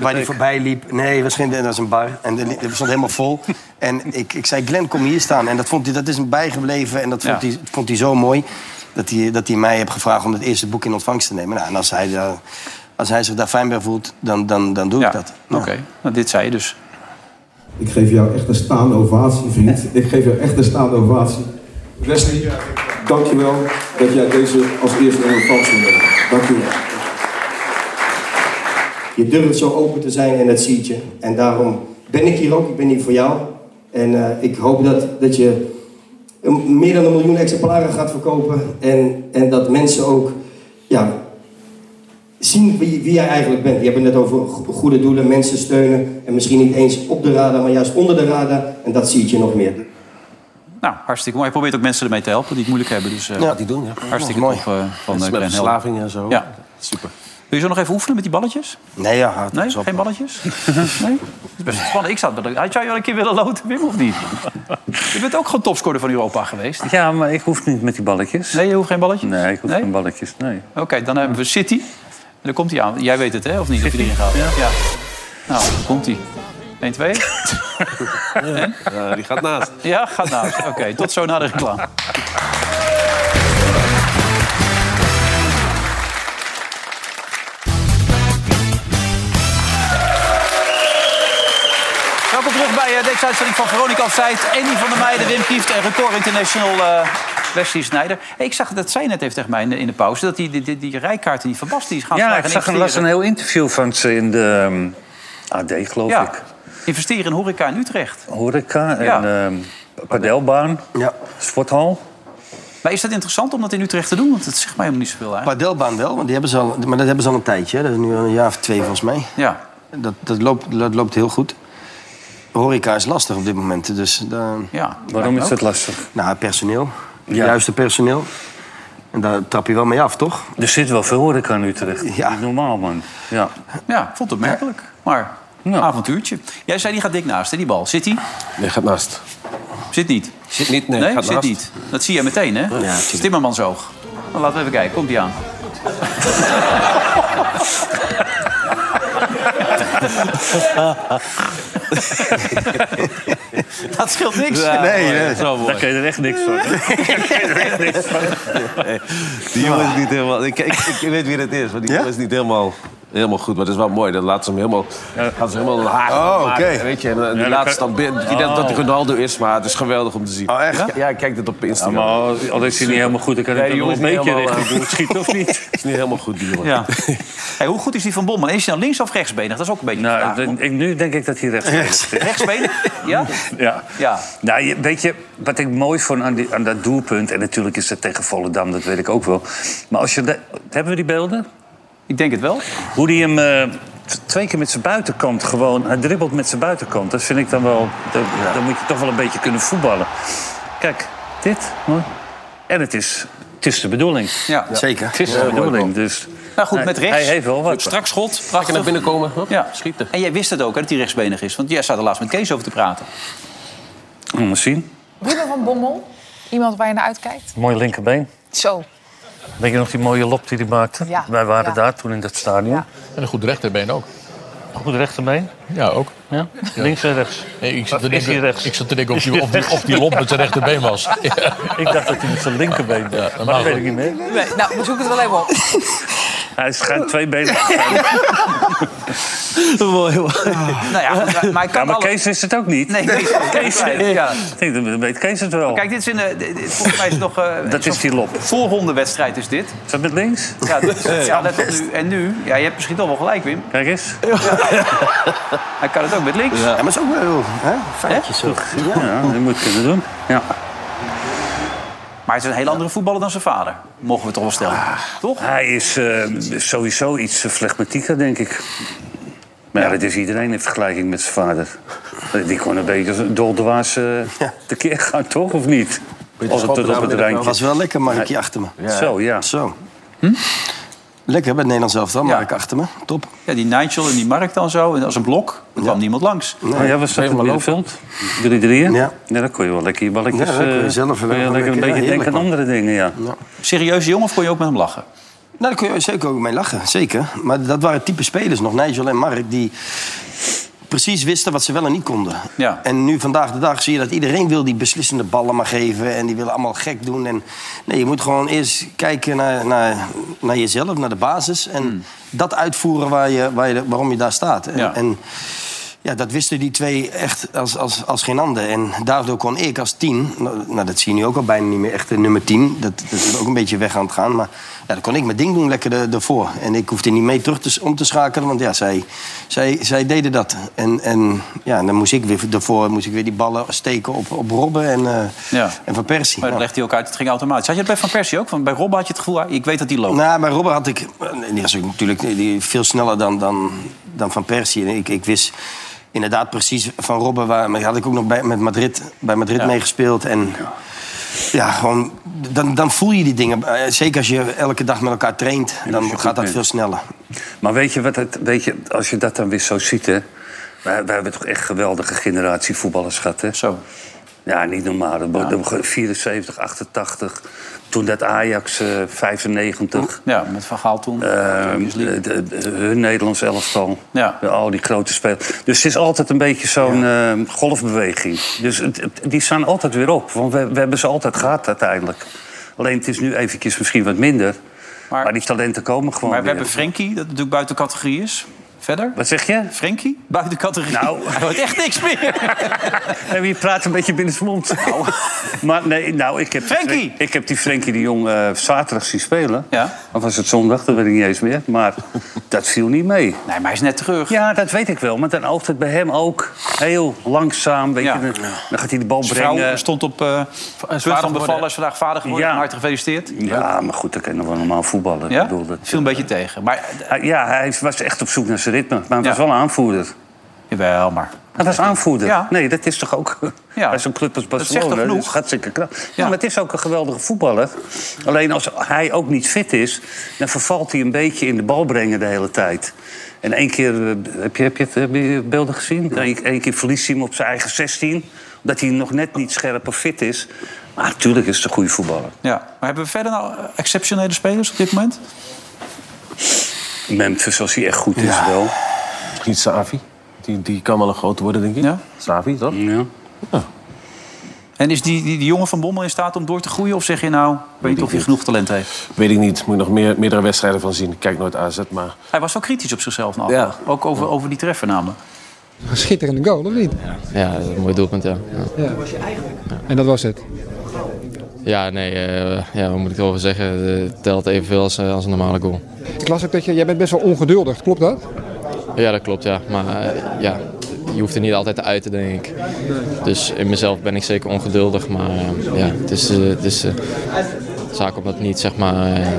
Speaker 4: waar hij voorbij liep. Nee, waarschijnlijk dat is een bar. En er li- er stond helemaal vol. en ik, ik zei, Glenn, kom hier staan. En dat, vond hij, dat is hem bijgebleven en dat vond,
Speaker 2: Ja.
Speaker 4: hij, vond hij zo mooi... Dat hij, dat hij mij heeft gevraagd om het eerste boek in ontvangst te nemen. Nou, en als hij, daar- als hij zich daar fijn bij voelt, dan, dan, dan doe ik dat.
Speaker 2: Oké, nou, dit zei je dus.
Speaker 14: Ik geef jou echt een staande ovatie, vriend. Ik geef jou echt een staande ovatie. Wesley, dankjewel dat jij deze als eerste in ontvangst wil nemen. Dankjewel.
Speaker 15: Je durft zo open te zijn en dat ziet je. En daarom ben ik hier ook, ik ben hier voor jou. En eh, ik hoop dat, dat je een- meer dan een miljoen exemplaren gaat verkopen. En, en dat mensen ook ja, zien wie, wie jij eigenlijk bent. Je hebt het net over go- goede doelen, mensen steunen. En misschien niet eens op de radar, maar juist onder de radar. En dat ziet je nog meer.
Speaker 2: Nou, hartstikke mooi. Hij probeert ook mensen ermee te helpen die het moeilijk hebben. Dus, eh,
Speaker 4: Ja, die doen, ja.
Speaker 2: Hartstikke
Speaker 4: Mooi.
Speaker 2: mooi. top eh, van eh,
Speaker 4: Mensen met
Speaker 2: Glenn Helder.
Speaker 4: verslaving en zo.
Speaker 2: Ja. Super. Wil je zo nog even oefenen met die balletjes?
Speaker 4: Nee, ja, hard.
Speaker 2: Nee, geen balletjes?
Speaker 4: Mhm.
Speaker 2: nee? Dat is best spannend. Ik zou, het wel- had jij wel een keer willen loten, Wim, of niet? je bent ook gewoon topscorer van Europa geweest.
Speaker 5: Ja, maar ik hoef niet met die balletjes.
Speaker 2: Nee, je hoeft geen balletjes?
Speaker 5: Nee, ik hoef geen balletjes, nee.
Speaker 2: Oké, dan hebben we City. En dan komt hij aan. Jij weet het, hè? Of niet? Of je erin gaat. Ja. Nou, komt hij. 1, 2.
Speaker 3: die gaat naast.
Speaker 2: Ja, gaat naast. Oké, tot zo na de reclame. Welkom terug bij eh, deze uitzending van Veronica of Zijt. Andy van der Meijden, Wim Kieft en Record International eh Wesley Snijder. Hey, ik zag dat zij net heeft tegen mij in de, in de pauze... dat die, die, die, die rijkaarten, die Van Basten, die is gaan
Speaker 5: Ja,
Speaker 2: vragen
Speaker 5: ik zag een, las
Speaker 2: investeren.
Speaker 5: een heel interview van ze in de ehm, AD, geloof
Speaker 2: Ja.
Speaker 5: ik.
Speaker 2: Investeren in horeca in Utrecht.
Speaker 5: Horeca en
Speaker 2: Ja.
Speaker 5: ehm, padelbaan, sporthal.
Speaker 2: Maar is dat interessant om dat in Utrecht te doen? Want het zegt mij helemaal niet zoveel eigenlijk.
Speaker 4: Padelbaan wel, want die hebben ze al, maar dat hebben ze al een tijdje. hè. Dat is nu al een jaar of twee volgens mij.
Speaker 2: Ja.
Speaker 4: Dat, dat, loopt, dat loopt heel goed. Horeca is lastig op dit moment. Dus daar-
Speaker 2: Ja,
Speaker 5: Waarom is dat lastig?
Speaker 4: Nou, personeel. Het
Speaker 5: Ja.
Speaker 4: Juiste personeel. En daar trap je wel mee af, toch?
Speaker 5: Er zit wel veel horeca in Utrecht. Ja. Niet normaal, man. Ja.
Speaker 2: Ja, ik vond het opmerkelijk. Maar een avontuurtje. Jij zei, die gaat dik naast, hè, die bal. Zit die?
Speaker 3: Nee, gaat naast.
Speaker 2: Zit niet.
Speaker 3: Zit niet, nee. gaat
Speaker 2: zit
Speaker 3: naast.
Speaker 2: niet. Dat zie je meteen, hè? Ja, Timmermansoog. Nou, laten we even kijken. Komt die aan? dat scheelt niks.
Speaker 5: Ja,
Speaker 2: nee,
Speaker 5: mooi. Daar kun je er echt niks van.
Speaker 3: Die jongen
Speaker 4: Ah.
Speaker 3: is niet helemaal... Ik, ik, ik weet wie dat is, maar die jongen is niet helemaal, helemaal goed. Maar dat is wel mooi. Dan laten ze hem helemaal, gaan ze helemaal een haak
Speaker 4: Oh,
Speaker 3: maken,
Speaker 4: oké.
Speaker 3: Weet je, en eh, die
Speaker 5: Ja, dan
Speaker 3: laatste
Speaker 5: kan-
Speaker 3: dan binnen. Je denkt dat hij
Speaker 5: Oh.
Speaker 3: Ronaldo is, maar het is geweldig om te zien.
Speaker 4: Oh, echt?
Speaker 3: Ja, ja ik kijk dit op Instagram.
Speaker 5: Ja, maar al is hij niet helemaal goed, dan kan hij
Speaker 3: die
Speaker 5: toch
Speaker 3: jongen
Speaker 5: wel een
Speaker 3: is niet
Speaker 5: beetje
Speaker 3: helemaal,
Speaker 5: richting
Speaker 3: eh,
Speaker 5: doel schieten, of niet?
Speaker 3: is niet helemaal goed, die jongen.
Speaker 2: Ja. Hey, hoe goed is die van Bommel? Is hij nou links of rechtsbenig? Dat is ook een beetje de vraag.
Speaker 5: Nou, ik, nu denk ik dat hij rechts is.
Speaker 2: Rechtsbenig? Ja?
Speaker 5: Ja.
Speaker 2: Ja.
Speaker 5: Nou, je- weet je, wat ik mooi vond aan, die, aan dat doelpunt... en natuurlijk is het tegen Volendam, dat weet ik ook wel. Maar als je... de- hebben we die beelden?
Speaker 2: Ik denk het wel.
Speaker 5: Hoe die hem eh, t- twee keer met zijn buitenkant gewoon... Hij dribbelt met zijn buitenkant. Dat vind ik dan wel... Dat, Dan moet je toch wel een beetje kunnen voetballen. Kijk, dit. hoor. En het is, het is de bedoeling.
Speaker 2: Ja,
Speaker 4: zeker.
Speaker 5: Het is
Speaker 4: Ja,
Speaker 5: de
Speaker 4: mooi,
Speaker 5: bedoeling, dus...
Speaker 2: Nou goed,
Speaker 5: Hij-
Speaker 2: met rechts.
Speaker 5: Hij heeft wel wat.
Speaker 2: Strak schot. Prachtig.
Speaker 3: naar binnen komen.
Speaker 2: ja. schieten. En jij wist het ook, hè, dat hij rechtsbenig is. Want jij staat er laatst met Kees over te praten.
Speaker 5: Moet zien.
Speaker 16: Ruben van Bommel, iemand waar je naar uitkijkt?
Speaker 5: Mooi linkerbeen.
Speaker 16: Zo.
Speaker 5: Weet je nog die mooie lop die hij maakte?
Speaker 16: Ja,
Speaker 5: Wij waren
Speaker 16: ja.
Speaker 5: daar toen in dat stadion.
Speaker 17: En een goed rechterbeen ook.
Speaker 5: Goed rechterbeen?
Speaker 17: Ja, ook.
Speaker 5: Ja?
Speaker 17: Ja.
Speaker 5: Links en rechts.
Speaker 17: Nee, ik zat te
Speaker 5: Is hij
Speaker 17: denken,
Speaker 5: rechts?
Speaker 17: ik zat te denken of,
Speaker 5: Is hij
Speaker 17: die, of, die,
Speaker 5: rechts?
Speaker 17: of die lomp met zijn rechterbeen was.
Speaker 5: Ik dacht dat hij met zijn linkerbeen deed. maar dat
Speaker 17: mag
Speaker 5: weet
Speaker 17: ook.
Speaker 5: ik niet meer.
Speaker 16: Nee, nou, we zoeken het wel even op.
Speaker 5: Hij schijnt twee benen
Speaker 2: Mooi, Nou ja, goed, maar, maar, ik kan
Speaker 5: Ja, maar
Speaker 2: alle-
Speaker 5: Kees is het ook niet.
Speaker 2: Nee, Kees- Kees- ja.
Speaker 5: Ik denk, dat weet Kees het wel.
Speaker 2: Kijk, dit is een, eh, dit- dit- volgens mij is het nog... eh,
Speaker 5: Dat is die lop.
Speaker 2: Voorrondewedstrijd is dit.
Speaker 5: Is dat met links?
Speaker 2: Ja, dit- ja let op nu. En nu, ja, je hebt misschien toch wel gelijk, Wim.
Speaker 5: Kijk eens.
Speaker 2: Hij kan het ook met links.
Speaker 5: Ja. Ja, maar
Speaker 2: is ook wel feitjes zo.
Speaker 5: Ja, dat moet kunnen doen. Ja.
Speaker 2: Maar het is een heel andere voetballer dan zijn vader. Mogen we toch wel stellen. Toch?
Speaker 5: Hij is eh, sowieso iets eh, flegmatieker, denk ik. Maar ja, dat is iedereen in vergelijking met zijn vader. Eh, Die kon een beetje doldwaas de tekeer gaan, toch? Of niet? Als het tot op het
Speaker 4: Dat
Speaker 5: randje.
Speaker 4: was wel lekker, Markie achter me.
Speaker 2: Oh,
Speaker 5: Zo, ja.
Speaker 4: Zo.
Speaker 2: Hm?
Speaker 4: Lekker bij het Nederlands elftal, Mark achter me. Top.
Speaker 2: Ja, die Nigel en die Mark dan zo. En als een blok, dan kwam niemand langs.
Speaker 5: Oh, ja, was dat het middenveld? Jullie drieën? Ja. dan kon je wel lekker je balletjes...
Speaker 2: Ja, dan kon je
Speaker 5: eh,
Speaker 2: zelf
Speaker 5: kon je
Speaker 2: wel
Speaker 5: lekker,
Speaker 2: lekker-
Speaker 5: een
Speaker 2: ja,
Speaker 5: beetje denken
Speaker 2: heerlijk,
Speaker 5: aan andere dingen, ja.
Speaker 2: Serieuze jongen of kon je ook met hem lachen?
Speaker 4: Nou, daar kun je zeker ook mee lachen, zeker. Maar dat waren type spelers nog, Nigel en Mark, die precies wisten wat ze wel en niet konden.
Speaker 2: Ja.
Speaker 4: En nu vandaag de dag zie je dat iedereen wil die beslissende ballen maar geven en die willen allemaal gek doen. En nee, je moet gewoon eerst kijken naar, naar, naar jezelf, naar de basis en dat uitvoeren waar je, waar je, waarom je daar staat. En,
Speaker 2: Hmm. Ja.
Speaker 4: en ja, dat wisten die twee echt als, als, als geen ander. En daardoor kon ik als tien, nou, nou, dat zie je nu ook al bijna niet meer, echt de nummer tien. Dat, dat is ook een beetje weg aan het gaan. Maar ja, dan kon ik mijn ding doen lekker er- ervoor. En ik hoefde niet mee terug te, s- om te schakelen, want ja, zij, zij, zij deden dat. En, en ja, dan moest ik weer ervoor, moest ik weer die ballen steken op, op Robben en, eh,
Speaker 2: Ja.
Speaker 4: en Van Persie.
Speaker 2: Maar dat
Speaker 4: Nou.
Speaker 2: legde hij ook uit, het ging automatisch. Had je dat bij Van Persie ook? Want bij Rob had je het gevoel, ah, ik weet dat hij loopt.
Speaker 4: Nou, bij Robben had ik... eh, Die was ook natuurlijk die veel sneller dan, dan, dan Van Persie. En ik, ik wist inderdaad precies van Robben... Waar, maar had ik ook nog bij, met Madrid, bij Madrid
Speaker 2: Ja.
Speaker 4: meegespeeld. En ja, gewoon... Dan, dan voel je die dingen. Eh, Zeker als je elke dag met elkaar traint,
Speaker 5: als je
Speaker 4: dan
Speaker 5: goed
Speaker 4: gaat dat
Speaker 5: bent.
Speaker 4: veel sneller.
Speaker 5: Maar weet je, wat het, weet je, als je dat dan weer zo ziet, hè? Wij, wij hebben toch echt geweldige generatie voetballers gehad, hè?
Speaker 2: Zo.
Speaker 5: Ja, niet normaal. Dat wordt- dat wordt 74, 88. Toen dat Ajax, eh, 95.
Speaker 2: Ja, met Van Gaal toen.
Speaker 5: de, de- de- hun Nederlands elftal.
Speaker 2: Ja.
Speaker 5: Al die grote spelers. Dus het is altijd een beetje zo'n eh, golfbeweging. Dus het- het- die staan altijd weer op. Want we, we hebben ze altijd gehad uiteindelijk. Alleen het is nu eventjes misschien wat minder. Maar, die talenten komen gewoon
Speaker 2: Maar we
Speaker 5: weer.
Speaker 2: hebben Frenkie, dat natuurlijk buiten categorie is. Verder?
Speaker 5: Wat zeg je?
Speaker 2: Frenkie? Buiten categorie.
Speaker 5: Nou.
Speaker 2: Hij wordt echt niks meer.
Speaker 5: En wie praat een beetje binnen zijn mond? maar nee, nou, ik heb, die
Speaker 2: Frenkie!
Speaker 5: Fren- ik heb die Frenkie de Jong eh, zaterdag zien spelen.
Speaker 2: Ja.
Speaker 5: Of was het zondag, dat weet ik niet eens meer. Maar dat viel niet mee. Nee,
Speaker 2: maar hij is net terug.
Speaker 5: Ja, dat weet ik wel. Maar dan oogt het bij hem ook heel langzaam. Weet je, dan, dan gaat hij de bal
Speaker 2: Zijn vrouw
Speaker 5: brengen.
Speaker 2: stond op eh punt van bevallen. Is vandaag vader geworden.
Speaker 5: Ja.
Speaker 2: Van Harte gefeliciteerd.
Speaker 5: Ja, maar goed, dat kan nog wel normaal voetballen.
Speaker 2: Ja?
Speaker 5: Ik bedoel, dat, eh,
Speaker 2: Viel een beetje tegen. Maar, eh,
Speaker 5: Hij- ja, hij was echt op zoek naar zijn ritme. Maar hij was wel een aanvoerder.
Speaker 2: Jawel, maar...
Speaker 5: Hij was aanvoerder. Nee, dat is toch ook... Bij zo'n club als
Speaker 2: zegt toch
Speaker 5: Barcelona. Dat
Speaker 2: genoeg?
Speaker 5: is hartstikke knap. Ja. maar het is ook een geweldige voetballer. Alleen als hij ook niet fit is... dan vervalt hij een beetje in de bal brengen de hele tijd. En één keer... eh, Heb je, heb je, heb je beelden gezien? Eén één keer verliest hij hem op zijn eigen 16. Omdat hij nog net niet scherp of fit is. Maar natuurlijk is het een goede voetballer.
Speaker 2: Ja. Maar hebben we verder nou eh, exceptionele spelers op dit moment?
Speaker 5: Memphis, als hij echt goed is wel.
Speaker 3: Misschien Savi. Die, die kan wel een groot worden, denk ik.
Speaker 2: Ja.
Speaker 3: Savi, toch?
Speaker 5: Ja.
Speaker 2: En is die, die, die jongen van Bommel in staat om door te groeien? Of zeg je nou, ik weet niet of hij genoeg talent heeft?
Speaker 3: Weet ik niet. Moet ik nog meer, meerdere wedstrijden van zien. Ik kijk nooit AZ, maar...
Speaker 2: Hij was wel kritisch op zichzelf. Nou.
Speaker 3: Ja.
Speaker 2: Ook over, over die treffer namelijk.
Speaker 18: Een schitterende goal, of niet?
Speaker 10: Ja, dat is een mooi doelpunt, ja. Ja,
Speaker 18: Ja. En dat was het.
Speaker 10: Ja, nee, eh, ja, wat moet ik erover zeggen? Eh, Het telt evenveel als, eh, als een normale goal.
Speaker 18: Ik las ook dat je, jij bent best wel ongeduldig, klopt dat?
Speaker 10: Ja, dat klopt, ja. Maar eh, ja, je hoeft er niet altijd te uiten, denk ik. Dus in mezelf ben ik zeker ongeduldig. Maar eh, ja, het is, eh, het is eh, zaak om dat niet zeg maar, eh, eh,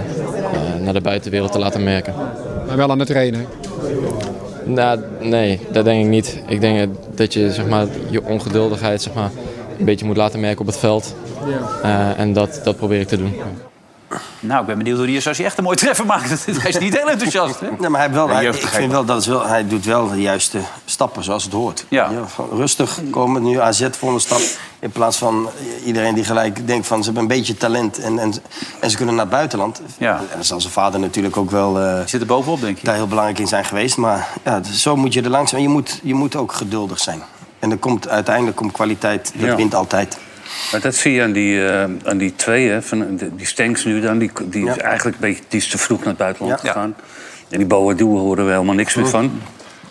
Speaker 10: naar de buitenwereld te laten merken.
Speaker 18: Maar wel aan het trainen.
Speaker 10: Nou, nee, dat denk ik niet. Ik denk eh, dat je zeg maar, je ongeduldigheid zeg maar, een beetje moet laten merken op het veld. Eh, en dat, dat probeer ik te doen.
Speaker 2: Nou, ik ben benieuwd hoe hij is als hij echt een mooi treffer maakt. hij is niet heel enthousiast. Hè?
Speaker 4: Nee, maar hij, heeft wel,
Speaker 2: Ja,
Speaker 4: hij- ik
Speaker 2: jeugdigheid.
Speaker 4: vind wel, dat is wel, hij doet wel de juiste stappen zoals het hoort. Ja. van rustig komen, nu AZ volgende stap. In plaats van iedereen die gelijk denkt van ze hebben een beetje talent en, en, en ze kunnen naar het buitenland.
Speaker 2: Ja.
Speaker 4: En daar zal zijn vader natuurlijk ook wel... eh,
Speaker 2: zit er bovenop, denk je?
Speaker 4: Daar heel belangrijk in zijn geweest. Maar ja, dus zo moet je er langzaam... Je moet, je moet ook geduldig zijn. En er komt, uiteindelijk komt kwaliteit, dat
Speaker 5: Ja.
Speaker 4: wint altijd.
Speaker 5: Maar dat zie je aan die, eh, aan die twee, hè, van, de- die Stenks nu dan. Die, die is
Speaker 4: Ja.
Speaker 5: eigenlijk een beetje die is te vroeg naar het buitenland
Speaker 4: Ja. Hm.
Speaker 5: gegaan. En die Boadou horen we helemaal niks meer van.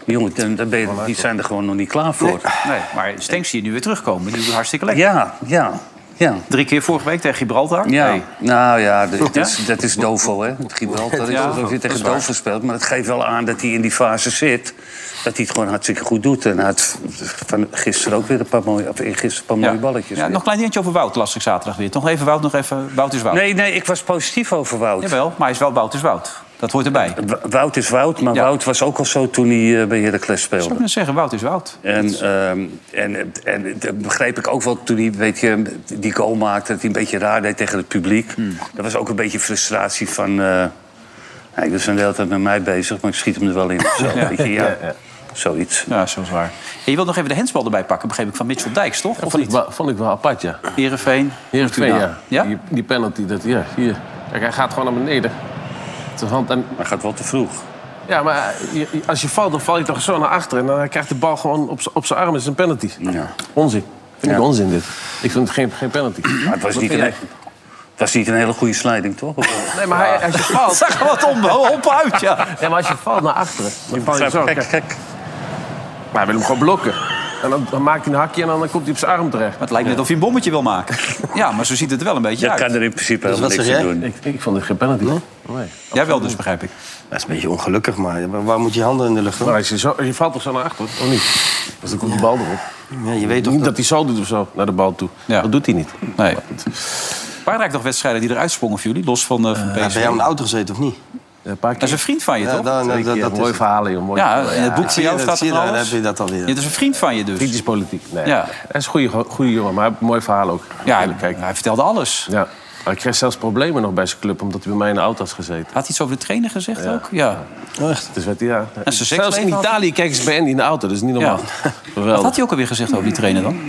Speaker 5: Jongen, dan, dan ben je- die zijn er gewoon nog niet klaar voor.
Speaker 2: Nee, maar Stenks zie je nu weer terugkomen. Die doet hartstikke lekker.
Speaker 5: Ja, ja, ja.
Speaker 2: Drie keer vorige week tegen Gibraltar.
Speaker 5: Ja,
Speaker 2: Nee.
Speaker 5: nou ja, d- dat is, dat is Dovo, hè. Het Gibraltar is
Speaker 2: Ja,
Speaker 5: alsof je
Speaker 2: dat is
Speaker 5: tegen
Speaker 2: waar.
Speaker 5: Dovo speelt. Maar het geeft wel aan dat hij in die fase zit. Dat hij het gewoon hartstikke goed doet. En hij had van gisteren ook weer een paar mooie, of eergisteren een paar mooie balletjes.
Speaker 2: Ja, nog een klein dingetje over Wout, las ik zaterdag weer. Toch even Wout, nog even. Wout is Wout.
Speaker 5: Nee, nee, ik was positief over Wout.
Speaker 2: Jawel, maar hij is wel Wout is Wout. Dat hoort erbij.
Speaker 5: W- Wout is Wout, maar Wout was ook al zo toen hij eh, bij Heracles
Speaker 2: Ik zou
Speaker 5: speelde.
Speaker 2: kunnen zeggen, Wout is Wout.
Speaker 5: En, ehm, en, en dat begreep ik ook wel toen hij weet je, die goal maakte... dat hij een beetje raar deed tegen het publiek.
Speaker 2: Hmm.
Speaker 5: Dat was ook een beetje frustratie van... eh nou, ik was een de hele tijd met mij bezig, maar ik schiet hem er wel in. Zo,
Speaker 2: Ja.
Speaker 5: weet je, ja.
Speaker 2: Ja,
Speaker 5: Zoiets.
Speaker 2: Ja, zo is waar. En je wilt nog even de hensbal erbij pakken, begreep ik, van Mitchell Dijks, toch? Of
Speaker 3: vond, ik
Speaker 2: niet?
Speaker 3: wel, vond ik wel apart, ja.
Speaker 2: Heerenveen.
Speaker 3: Heerenveen,
Speaker 2: Fortuna.
Speaker 3: ja. Die, die penalty, dat, ja, hier. Kijk, hij gaat gewoon naar beneden. Zijn hand en...
Speaker 5: Hij gaat wel te vroeg.
Speaker 3: Ja, maar je- je- als je valt, dan val je toch zo naar achteren. En dan krijgt de bal gewoon op z'n- op zijn arm. Het is een penalty. Onzin. Vind ik
Speaker 5: Ja.
Speaker 3: onzin, dit. Ik vind het geen, geen penalty.
Speaker 5: Maar het was
Speaker 3: Wat
Speaker 5: niet,
Speaker 3: vind
Speaker 5: een, e-
Speaker 3: jij?
Speaker 5: het was niet een hele goede slijding, toch?
Speaker 3: Nee, maar hij- als je valt...
Speaker 2: Zag wat om, op uit, ja.
Speaker 3: Nee, maar als je valt naar achteren, dan val je
Speaker 5: begrijp
Speaker 3: zo.
Speaker 5: het,
Speaker 3: Kijk, Maar hij wil hem gewoon blokken. En dan, dan maakt hij een hakje en dan komt hij op zijn arm terecht.
Speaker 2: Het lijkt net of je een bommetje wil maken. Ja, maar zo ziet het er wel een beetje
Speaker 5: Je
Speaker 2: uit.
Speaker 5: kan er in principe
Speaker 3: Dus
Speaker 5: helemaal
Speaker 4: wat
Speaker 5: niks
Speaker 4: zeg
Speaker 5: aan
Speaker 4: jij?
Speaker 5: doen.
Speaker 3: Ik, ik vond het geen penalty. Nee.
Speaker 2: Jij wel dus, begrijp ik.
Speaker 4: Hm? Dat is een beetje ongelukkig, maar waar- waar moet je handen in de lucht doen?
Speaker 3: Maar Nou, als je, zo, je valt toch zo naar achteren, of niet? Dus dan komt de bal erop.
Speaker 4: Ja, je weet toch
Speaker 3: niet dat... hij zo doet of zo, naar de bal toe. Dat doet hij niet.
Speaker 2: Nee. Een paar nog wedstrijden die eruit sprongen voor jullie, los van, eh van
Speaker 4: Ja, ben
Speaker 2: PSV.
Speaker 4: jij op een auto gezeten of niet?
Speaker 2: Dat is een vriend van je, toch?
Speaker 3: Twee keer. Mooi verhalen, joh. Mooi
Speaker 2: Ja,
Speaker 3: verhalen.
Speaker 2: in het boek
Speaker 3: Ja,
Speaker 2: van
Speaker 3: zie je
Speaker 2: jou
Speaker 3: dat,
Speaker 2: staat
Speaker 3: zie je
Speaker 2: er
Speaker 3: dat,
Speaker 2: alles.
Speaker 3: dan heb je dat
Speaker 4: alweer.
Speaker 2: Ja, dat is een vriend van je dus.
Speaker 3: Kritisch politiek, nee.
Speaker 2: Ja.
Speaker 3: Hij is een goede, goede jongen, maar hij heeft een mooi verhaal ook. Ja, hij,
Speaker 2: vertelde alles.
Speaker 3: Ja. Hij kreeg zelfs problemen nog bij zijn club, omdat hij bij mij in de auto had gezeten.
Speaker 2: Had hij iets over de trainer gezegd ook? Ja.
Speaker 3: Echt? Dus werd hij, ja.
Speaker 2: En zijn
Speaker 3: zelfs in
Speaker 2: seksleven had-
Speaker 3: Italië kijken ze bij Andy in de auto, dat is niet normaal.
Speaker 2: Wat had hij ook alweer gezegd over die trainer dan?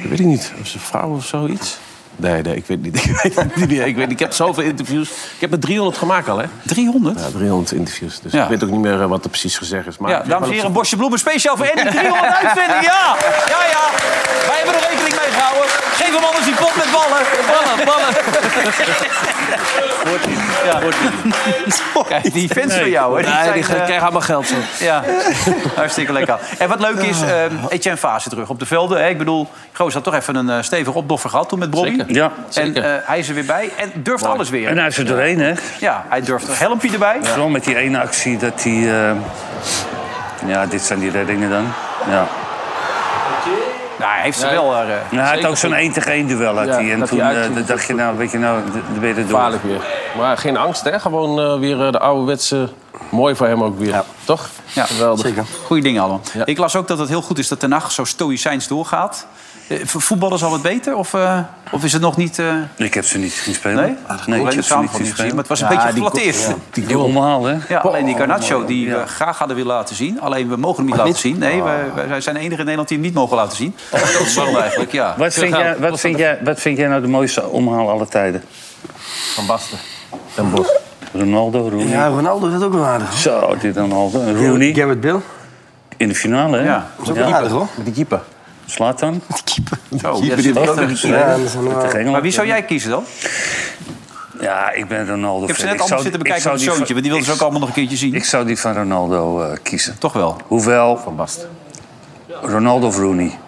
Speaker 3: Dat weet ik niet. Of zijn vrouw of zoiets? Nee, nee, ik weet niet. Ik, weet het niet meer. ik, weet, niet. ik heb zoveel interviews. Ik heb er 300 gemaakt al, hè?
Speaker 2: 300?
Speaker 3: Ja, 300 interviews. Dus
Speaker 2: Ja.
Speaker 3: ik weet ook niet meer eh, wat er precies gezegd is. Maar
Speaker 2: ja, dames en heren, een bosje bloemen speciaal voor Andy. 300 uitvinding, ja! Ja, ja. Wij hebben er rekening mee gehouden. Geef hem anders die pot met ballen. Ballen, ballen. Wordt niet. Ja. Kijk, die fans van jou, hè?
Speaker 3: Nee, die
Speaker 2: zijn,
Speaker 3: gaan-
Speaker 2: eh,
Speaker 3: krijgen allemaal geld Ah. zo.
Speaker 2: Ja, hartstikke lekker. En wat leuk is, ehm Etienne Fase terug op de velden. Hè? Ik bedoel, Goos had toch even een eh, stevig opdoffer gehad toen met Bobby.
Speaker 5: Zeker. Ja,
Speaker 2: En
Speaker 5: zeker.
Speaker 2: eh, hij is er weer bij en durft alles weer.
Speaker 5: En hij is er doorheen, hè?
Speaker 2: Ja, hij durft een helmpje erbij.
Speaker 5: Vooral met die ene actie dat hij... eh, ja, dit zijn die reddingen dan. Ja.
Speaker 2: Nou, hij heeft ze wel... eh,
Speaker 5: Nou, hij had
Speaker 2: zeker
Speaker 5: ook zo'n
Speaker 2: goed.
Speaker 5: 1 tegen 1 duel. Had
Speaker 3: Ja,
Speaker 5: hij. En
Speaker 3: dat
Speaker 5: toen
Speaker 3: hij
Speaker 5: eh,
Speaker 3: uitging.
Speaker 5: dat dacht je, nou, weet je, nou, d- dan ben je er door.
Speaker 3: Gevaarlijk weer. Maar geen angst, hè? Gewoon eh, weer eh, de ouderwetse... Mooi voor hem ook weer, toch?
Speaker 2: Ja,
Speaker 3: Geweldig.
Speaker 2: zeker. Goeie dingen allemaal. Ik las ook dat het heel goed is dat de nacht zo stoïcijns doorgaat. Eh, voor voetballers al wat beter? Of, eh, of is het nog niet... eh,
Speaker 5: Ik heb ze niet zien spelen.
Speaker 2: Nee? Ah, Nee, ik heb
Speaker 5: niet
Speaker 2: de samenvatting
Speaker 5: zien
Speaker 2: gezien,
Speaker 5: spelen.
Speaker 2: maar het was een beetje geflatteerd.
Speaker 5: Die, omhaal, hè?
Speaker 2: Ja, alleen die Garnacho die
Speaker 5: Ja.
Speaker 2: we graag hadden willen laten zien. Alleen we mogen hem niet laten zien. Nee, wij, wij zijn de enige in Nederland die hem niet mogen laten zien. Dat is zonde eigenlijk, ja.
Speaker 5: Wat vind, jij, wat, vind jij, wat vind jij nou de mooiste omhaal alle tijden?
Speaker 3: Van Basten.
Speaker 5: Den Bos. Ronaldo, Rooney.
Speaker 4: Ja, Ronaldo is ook wel aardig.
Speaker 5: Zo, dit Ronaldo. En Rooney.
Speaker 4: Garrett Bill.
Speaker 5: In de finale, hè?
Speaker 2: Ja,
Speaker 4: is ook wel aardig, hoor.
Speaker 3: Met die keeper.
Speaker 5: Slaat dan?
Speaker 2: Zo,
Speaker 5: Die
Speaker 2: ja,
Speaker 5: hebben dit
Speaker 2: dat
Speaker 5: ook
Speaker 2: is-
Speaker 5: nog
Speaker 4: Ja,
Speaker 5: gespeeld.
Speaker 4: dat is allemaal-
Speaker 5: Tegen Engeland.
Speaker 2: Maar wie zou jij kiezen dan?
Speaker 5: Ja, ik ben Ronaldo.
Speaker 2: Ik heb ze
Speaker 5: fan.
Speaker 2: net allemaal
Speaker 5: zou-
Speaker 2: zitten bekijken
Speaker 5: ik zou
Speaker 2: met
Speaker 5: die
Speaker 2: het
Speaker 5: van-
Speaker 2: zoontje, want die wilden ze
Speaker 5: ik-
Speaker 2: ook allemaal nog een keertje zien.
Speaker 5: Ik zou die van Ronaldo eh, kiezen.
Speaker 2: Toch wel?
Speaker 5: Hoewel...
Speaker 3: Van Basten.
Speaker 5: Ronaldo of Rooney.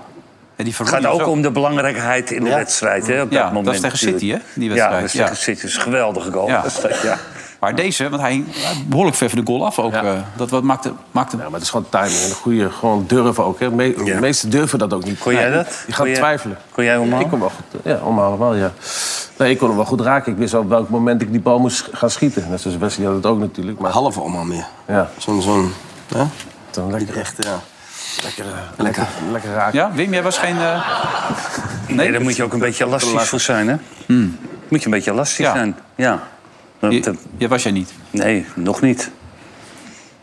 Speaker 2: En die
Speaker 5: Het gaat ook om de belangrijkheid in de
Speaker 2: Ja.
Speaker 5: wedstrijd. Hè, op
Speaker 2: Ja,
Speaker 5: dat moment.
Speaker 2: dat is tegen City,
Speaker 5: natuurlijk.
Speaker 2: hè, die wedstrijd.
Speaker 5: Ja, dat is
Speaker 2: Ja.
Speaker 5: tegen City. Dat is een geweldige goal.
Speaker 2: Ja.
Speaker 5: Dat is dat, ja.
Speaker 2: Maar deze, want hij hing behoorlijk ver van de goal af ook. eh, dat wat maakte, maakte
Speaker 3: Ja, maar het is gewoon timing en een goede, gewoon durven ook. Hè. Me- De meesten durven dat ook niet.
Speaker 5: Kon jij
Speaker 3: Nee,
Speaker 5: dat?
Speaker 3: Je
Speaker 5: Kon
Speaker 3: gaat
Speaker 5: jij-
Speaker 3: twijfelen.
Speaker 5: kon jij omhalen?
Speaker 3: Ja, ik kon wel goed, ja, omhalen wel, ja. Nee, ik kon hem wel goed raken. Ik wist al op welk moment ik die bal moest sch- gaan schieten. Net zoals Wesley had het ook natuurlijk. Maar
Speaker 4: Halve omhaal meer.
Speaker 3: ja,
Speaker 4: Zo'n, zo'n, hè?
Speaker 3: dan lekker,
Speaker 4: Echt, ja.
Speaker 3: lekker, lekker, lekker raken.
Speaker 2: Ja, Wim, jij was geen... eh,
Speaker 5: Nee, daar moet je ook een beetje elastisch voor zijn, hè? Moet je een beetje elastisch
Speaker 2: Hmm. Ja.
Speaker 5: zijn. Ja. Dat- dat-
Speaker 2: jij was jij niet.
Speaker 5: nee, nog niet.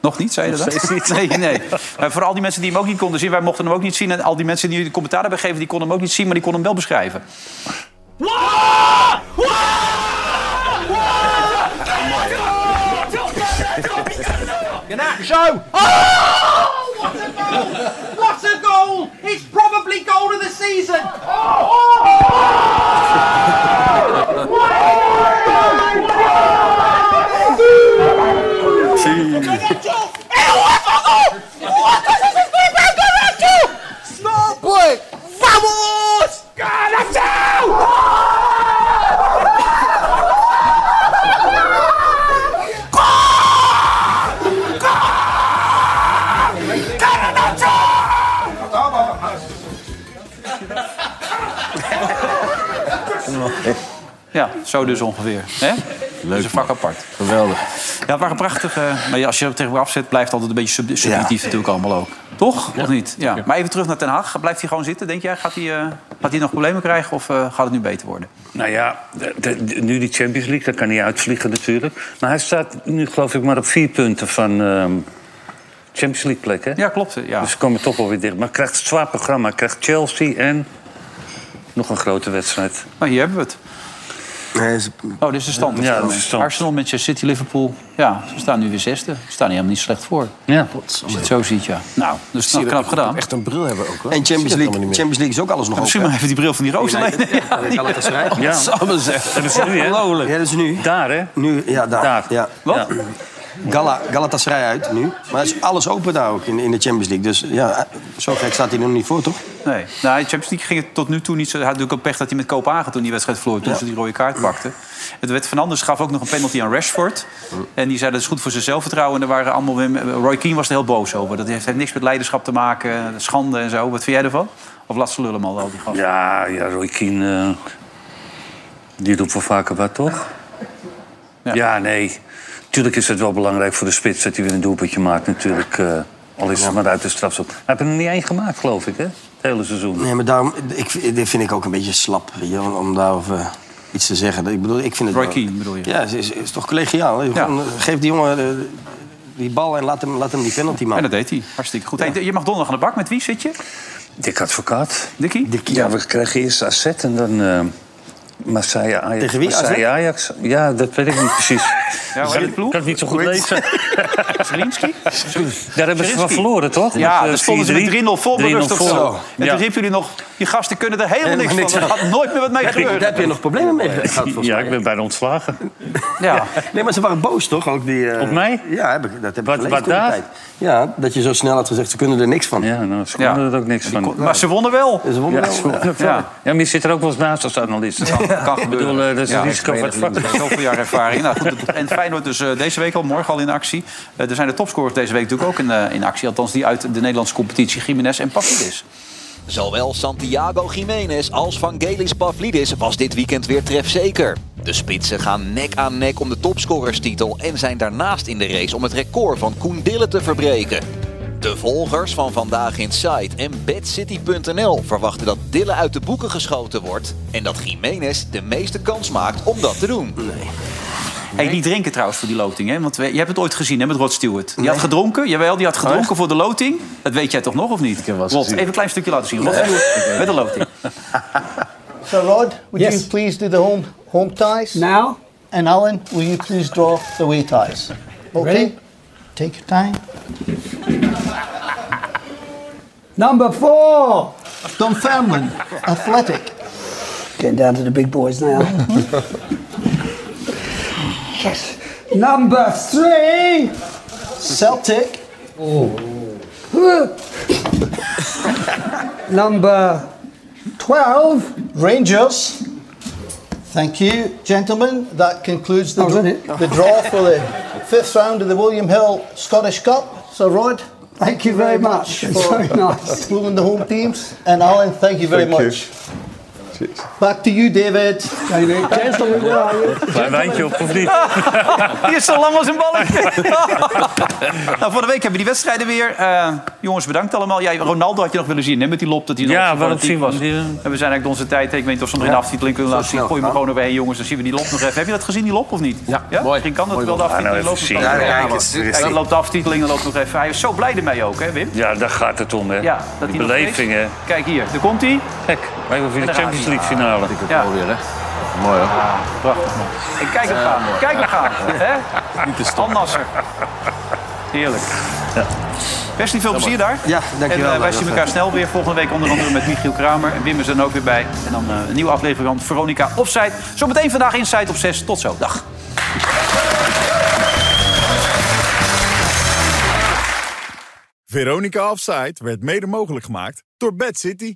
Speaker 2: Nog niet, zei je dat?
Speaker 5: Nog steeds
Speaker 2: Nee, nee. Maar voor al die mensen die hem ook niet konden zien, wij mochten hem ook niet zien. En al die mensen die de commentaar hebben gegeven, die konden hem ook niet zien, maar die konden hem wel beschrijven.
Speaker 19: Show! Oh! What a goal! What a goal! It's probably goal of the season! Oh! oh!
Speaker 2: Ja, zo dus ongeveer. Hè? Leuk. is een vak apart. Geweldig. Ja, het waren prachtige... Maar ja, als je er tegen elkaar afzet, blijft het altijd een beetje sub- subjectief natuurlijk allemaal ook. Toch? Of niet? Ja. Maar even terug naar Den Haag. Blijft hij gewoon zitten, denk jij? Gaat hij, eh, gaat hij nog problemen krijgen of eh, gaat het nu beter worden?
Speaker 5: Nou ja, de- de- de- nu die Champions League, daar kan hij uitvliegen natuurlijk. Maar hij staat nu geloof ik maar op vier punten van ehm, Champions League plek, hè?
Speaker 2: Ja, klopt. Ja.
Speaker 5: Dus ze komen toch wel weer dicht. Maar hij krijgt een zwaar programma. Hij krijgt Chelsea en nog een grote wedstrijd.
Speaker 2: Maar hier hebben we het. Oh, dit is de stand.
Speaker 5: Ja, dit is de stand.
Speaker 2: Arsenal, Manchester City, Liverpool. Ja, ze staan nu weer zesde. Ze staan er helemaal niet slecht voor.
Speaker 5: Ja.
Speaker 2: Als je het zo ziet, ja. Nou, dat is knap,
Speaker 4: Zie je
Speaker 2: knap
Speaker 4: dat-
Speaker 2: gedaan.
Speaker 4: echt een bril hebben ook.
Speaker 2: hoor.
Speaker 4: En
Speaker 2: Zie je dat
Speaker 4: Champions
Speaker 2: allemaal
Speaker 4: League,
Speaker 2: niet meer.
Speaker 4: Champions League is ook alles nog
Speaker 2: Ja,
Speaker 4: open.
Speaker 2: misschien maar even die bril van die roos alleen. Ja,
Speaker 4: dat kan het schrijven.
Speaker 2: Ja.
Speaker 5: Dat is nu, hè?
Speaker 4: Ja, dat is nu.
Speaker 5: Daar, hè?
Speaker 4: Nu, ja, daar.
Speaker 5: Daar.
Speaker 4: Ja.
Speaker 5: Wat?
Speaker 4: Gala, Galatasaray uit nu. Maar het is alles open daar ook in, in de Champions League. Dus ja, zo gek staat hij er nog niet voor, toch?
Speaker 2: Nee, nou, in de Champions League ging het tot nu toe niet zo. Hij had natuurlijk ook pech dat hij met Kopenhagen toen die wedstrijd verloor. Toen ze die rode kaart pakte. Het werd van anders gaf ook nog een penalty aan Rashford. En die zei dat is goed voor zijn zelfvertrouwen. En daar waren allemaal weer- Roy Keane was er heel boos over. Dat heeft, heeft niks met leiderschap te maken. Schande en zo. Wat vind jij ervan? Of laat ze lullen, man, al die gasten.
Speaker 5: Ja, ja, Roy Keane, eh, die doet wel vaker wat, toch? Ja. nee. Tuurlijk is het wel belangrijk voor de spits dat hij weer een doelpuntje maakt, natuurlijk. eh, al is het maar uit de strafschop. Hij heeft er nog niet één gemaakt, geloof ik, hè? Het hele seizoen.
Speaker 4: Nee, maar daarom, ik, dit vind ik ook een beetje slap weet je, om, om daarover iets te zeggen. Ik bedoel, ik vind het
Speaker 2: Roy
Speaker 4: wel-
Speaker 2: Keane bedoel je?
Speaker 4: Ja, het is, het is toch collegiaal. hè? Gewoon, eh, Geef die jongen eh, die bal en laat hem, laat hem die penalty maken.
Speaker 2: En dat deed hij. Hartstikke goed. Hey, je mag donderdag aan de bak. Met wie zit je?
Speaker 5: Dik advocaat.
Speaker 2: Dikkie?
Speaker 5: Ja, we krijgen eerst AZ en dan eh Marseille Ajax.
Speaker 2: Tegen wie,
Speaker 5: Marseille Ajax. Ja, dat weet ik niet precies.
Speaker 2: Ja, hoe heet die
Speaker 5: ik
Speaker 2: ploeg?
Speaker 5: kan het niet zo goed
Speaker 2: Hoe heet-
Speaker 5: lezen.
Speaker 2: Zelinski?
Speaker 5: Daar hebben ze van
Speaker 2: Zelinski.
Speaker 5: verloren, toch?
Speaker 2: Ja,
Speaker 5: Met, eh,
Speaker 2: daar stonden ze met 3-0 voor
Speaker 5: 3-0
Speaker 2: berust of zo.
Speaker 5: voor.
Speaker 2: En
Speaker 5: Ja.
Speaker 2: toen riepen jullie nog, die gasten kunnen er helemaal
Speaker 5: Helemaal
Speaker 2: niks van.
Speaker 5: niks
Speaker 2: Er
Speaker 5: van.
Speaker 2: gaat nooit meer wat mee
Speaker 4: Heb je-
Speaker 2: gebeuren.
Speaker 4: daar heb je nog problemen mee gehad, volgens
Speaker 5: Ja,
Speaker 4: mij.
Speaker 5: ik ben bijna ontslagen.
Speaker 2: Ja.
Speaker 4: Nee, maar ze waren boos toch? Ook die, eh,
Speaker 5: Op mij?
Speaker 4: Ja, heb ik, dat heb
Speaker 5: Wat-
Speaker 4: ik
Speaker 5: wat
Speaker 4: gelezen toen
Speaker 5: daar?
Speaker 4: de tijd. Ja, dat je zo snel had gezegd, ze kunnen er niks van.
Speaker 5: Ja, nou, ze konden er ook niks van.
Speaker 2: Maar ze wonnen wel.
Speaker 4: nou, Ze wonnen
Speaker 5: Ja,
Speaker 4: wel.
Speaker 5: ze wonnen wel. ja. maar je zit er ook wel eens naast als analist.
Speaker 2: Kan, kan
Speaker 5: Ik bedoel, eh,
Speaker 2: gebeuren.
Speaker 5: dat is
Speaker 2: Ja,
Speaker 5: een risico van het vak.
Speaker 2: ik weet het niet. Zoveel jaar ervaring. Nou, goed, en Feyenoord dus eh, deze week al, morgen al in actie. Eh, er zijn de topscorers deze week natuurlijk ook in, eh, in actie. Althans, die uit de Nederlandse competitie, Jiménez en Papidis.
Speaker 20: Zowel Santiago Jiménez als Vangelis Pavlidis was dit weekend weer trefzeker. De spitsen gaan nek aan nek om de topscorerstitel en zijn daarnaast in de race om het record van Koen Dillen te verbreken. De volgers van Vandaag in Sight en BadCity.nl verwachten dat Dillen uit de boeken geschoten wordt en dat Jiménez de meeste kans maakt om dat te doen.
Speaker 2: Hey, niet drinken trouwens voor die loting, hè? Want we- je hebt het ooit gezien, hè, met Rod Stewart. Die had gedronken, jawel, die had
Speaker 5: Oh,
Speaker 2: gedronken voor de loting. Dat weet jij toch nog, of niet? Rod, even een klein stukje laten zien. Rod Stewart met de loting.
Speaker 21: So, Rod, would
Speaker 2: Yes.
Speaker 21: you please do the home home ties now? And Alan, will you please draw the way ties? Okay. Take your time. Number four, Dunfermline Athletic.
Speaker 22: Getting down to the big boys now.
Speaker 21: Yes. Number three, Celtic. Number 12, Rangers. Thank you, gentlemen. That concludes the,
Speaker 22: Oh, is that it?
Speaker 21: the draw for the fifth round of the William Hill Scottish Cup. So, Rod, thank you very much
Speaker 22: It's
Speaker 21: for
Speaker 22: very nice.
Speaker 21: pulling the home teams. And Alan, thank you very
Speaker 22: Thank you.
Speaker 21: much. Back to you, David. David,
Speaker 22: gentlemen, where are you?
Speaker 5: Klein wijntje op, of niet?
Speaker 2: Die is zo lang als een balletje. nou, voor de week hebben we die wedstrijden weer. Eh, jongens, bedankt allemaal. Jij, Ronaldo had je nog willen zien, hè? Met die lop dat hij nog
Speaker 5: Ja,
Speaker 2: zo
Speaker 5: waarom
Speaker 2: fanatiek
Speaker 5: zien we
Speaker 2: was. En we zijn eigenlijk onze tijd. Ik weet niet of ze hem erin aftiteling kunnen laten zien. Gooi me gewoon overheen, jongens. Dan zien we die lop nog even. Heb je dat gezien, die lop, of niet? Ja, mooi. Misschien kan dat wel de
Speaker 5: man. Ah, nou,
Speaker 2: aftiteling
Speaker 5: even
Speaker 2: lopen.
Speaker 5: zien.
Speaker 2: Ja,
Speaker 5: Ja,
Speaker 2: ja,
Speaker 5: kijk eens.
Speaker 2: ja. Kijk, Dan loopt de aftiteling, dan loopt nog even. Hij is zo blij ermee ook, hè, Wim?
Speaker 5: Ja, daar gaat het om, hè.
Speaker 2: Ja, dat
Speaker 5: die
Speaker 2: hij nog
Speaker 5: beleving, hè.
Speaker 2: Kijk hier, daar komt hij.
Speaker 5: Gek. Wij hebben
Speaker 2: En
Speaker 5: voor de
Speaker 2: daar
Speaker 5: Champions
Speaker 2: gaat hij.
Speaker 5: League finale. Ik
Speaker 2: Ja. wel weer,
Speaker 5: hè. Mooi, hoor.
Speaker 2: prachtig, man. En kijk hem gaan, kijk hem gaan. hè? Al Nasser. Heerlijk. Best niet veel plezier daar.
Speaker 4: Ja, dankjewel.
Speaker 2: En eh, wij
Speaker 4: Dankjewel.
Speaker 2: zien elkaar snel weer volgende week. Onder andere met Michiel Kramer. En Wim is er dan ook weer bij. En dan eh, een nieuwe aflevering van Veronica Offside. Zometeen vandaag Inside op 6. Tot zo. Dag.
Speaker 1: Veronica Offside werd mede mogelijk gemaakt door Bad City.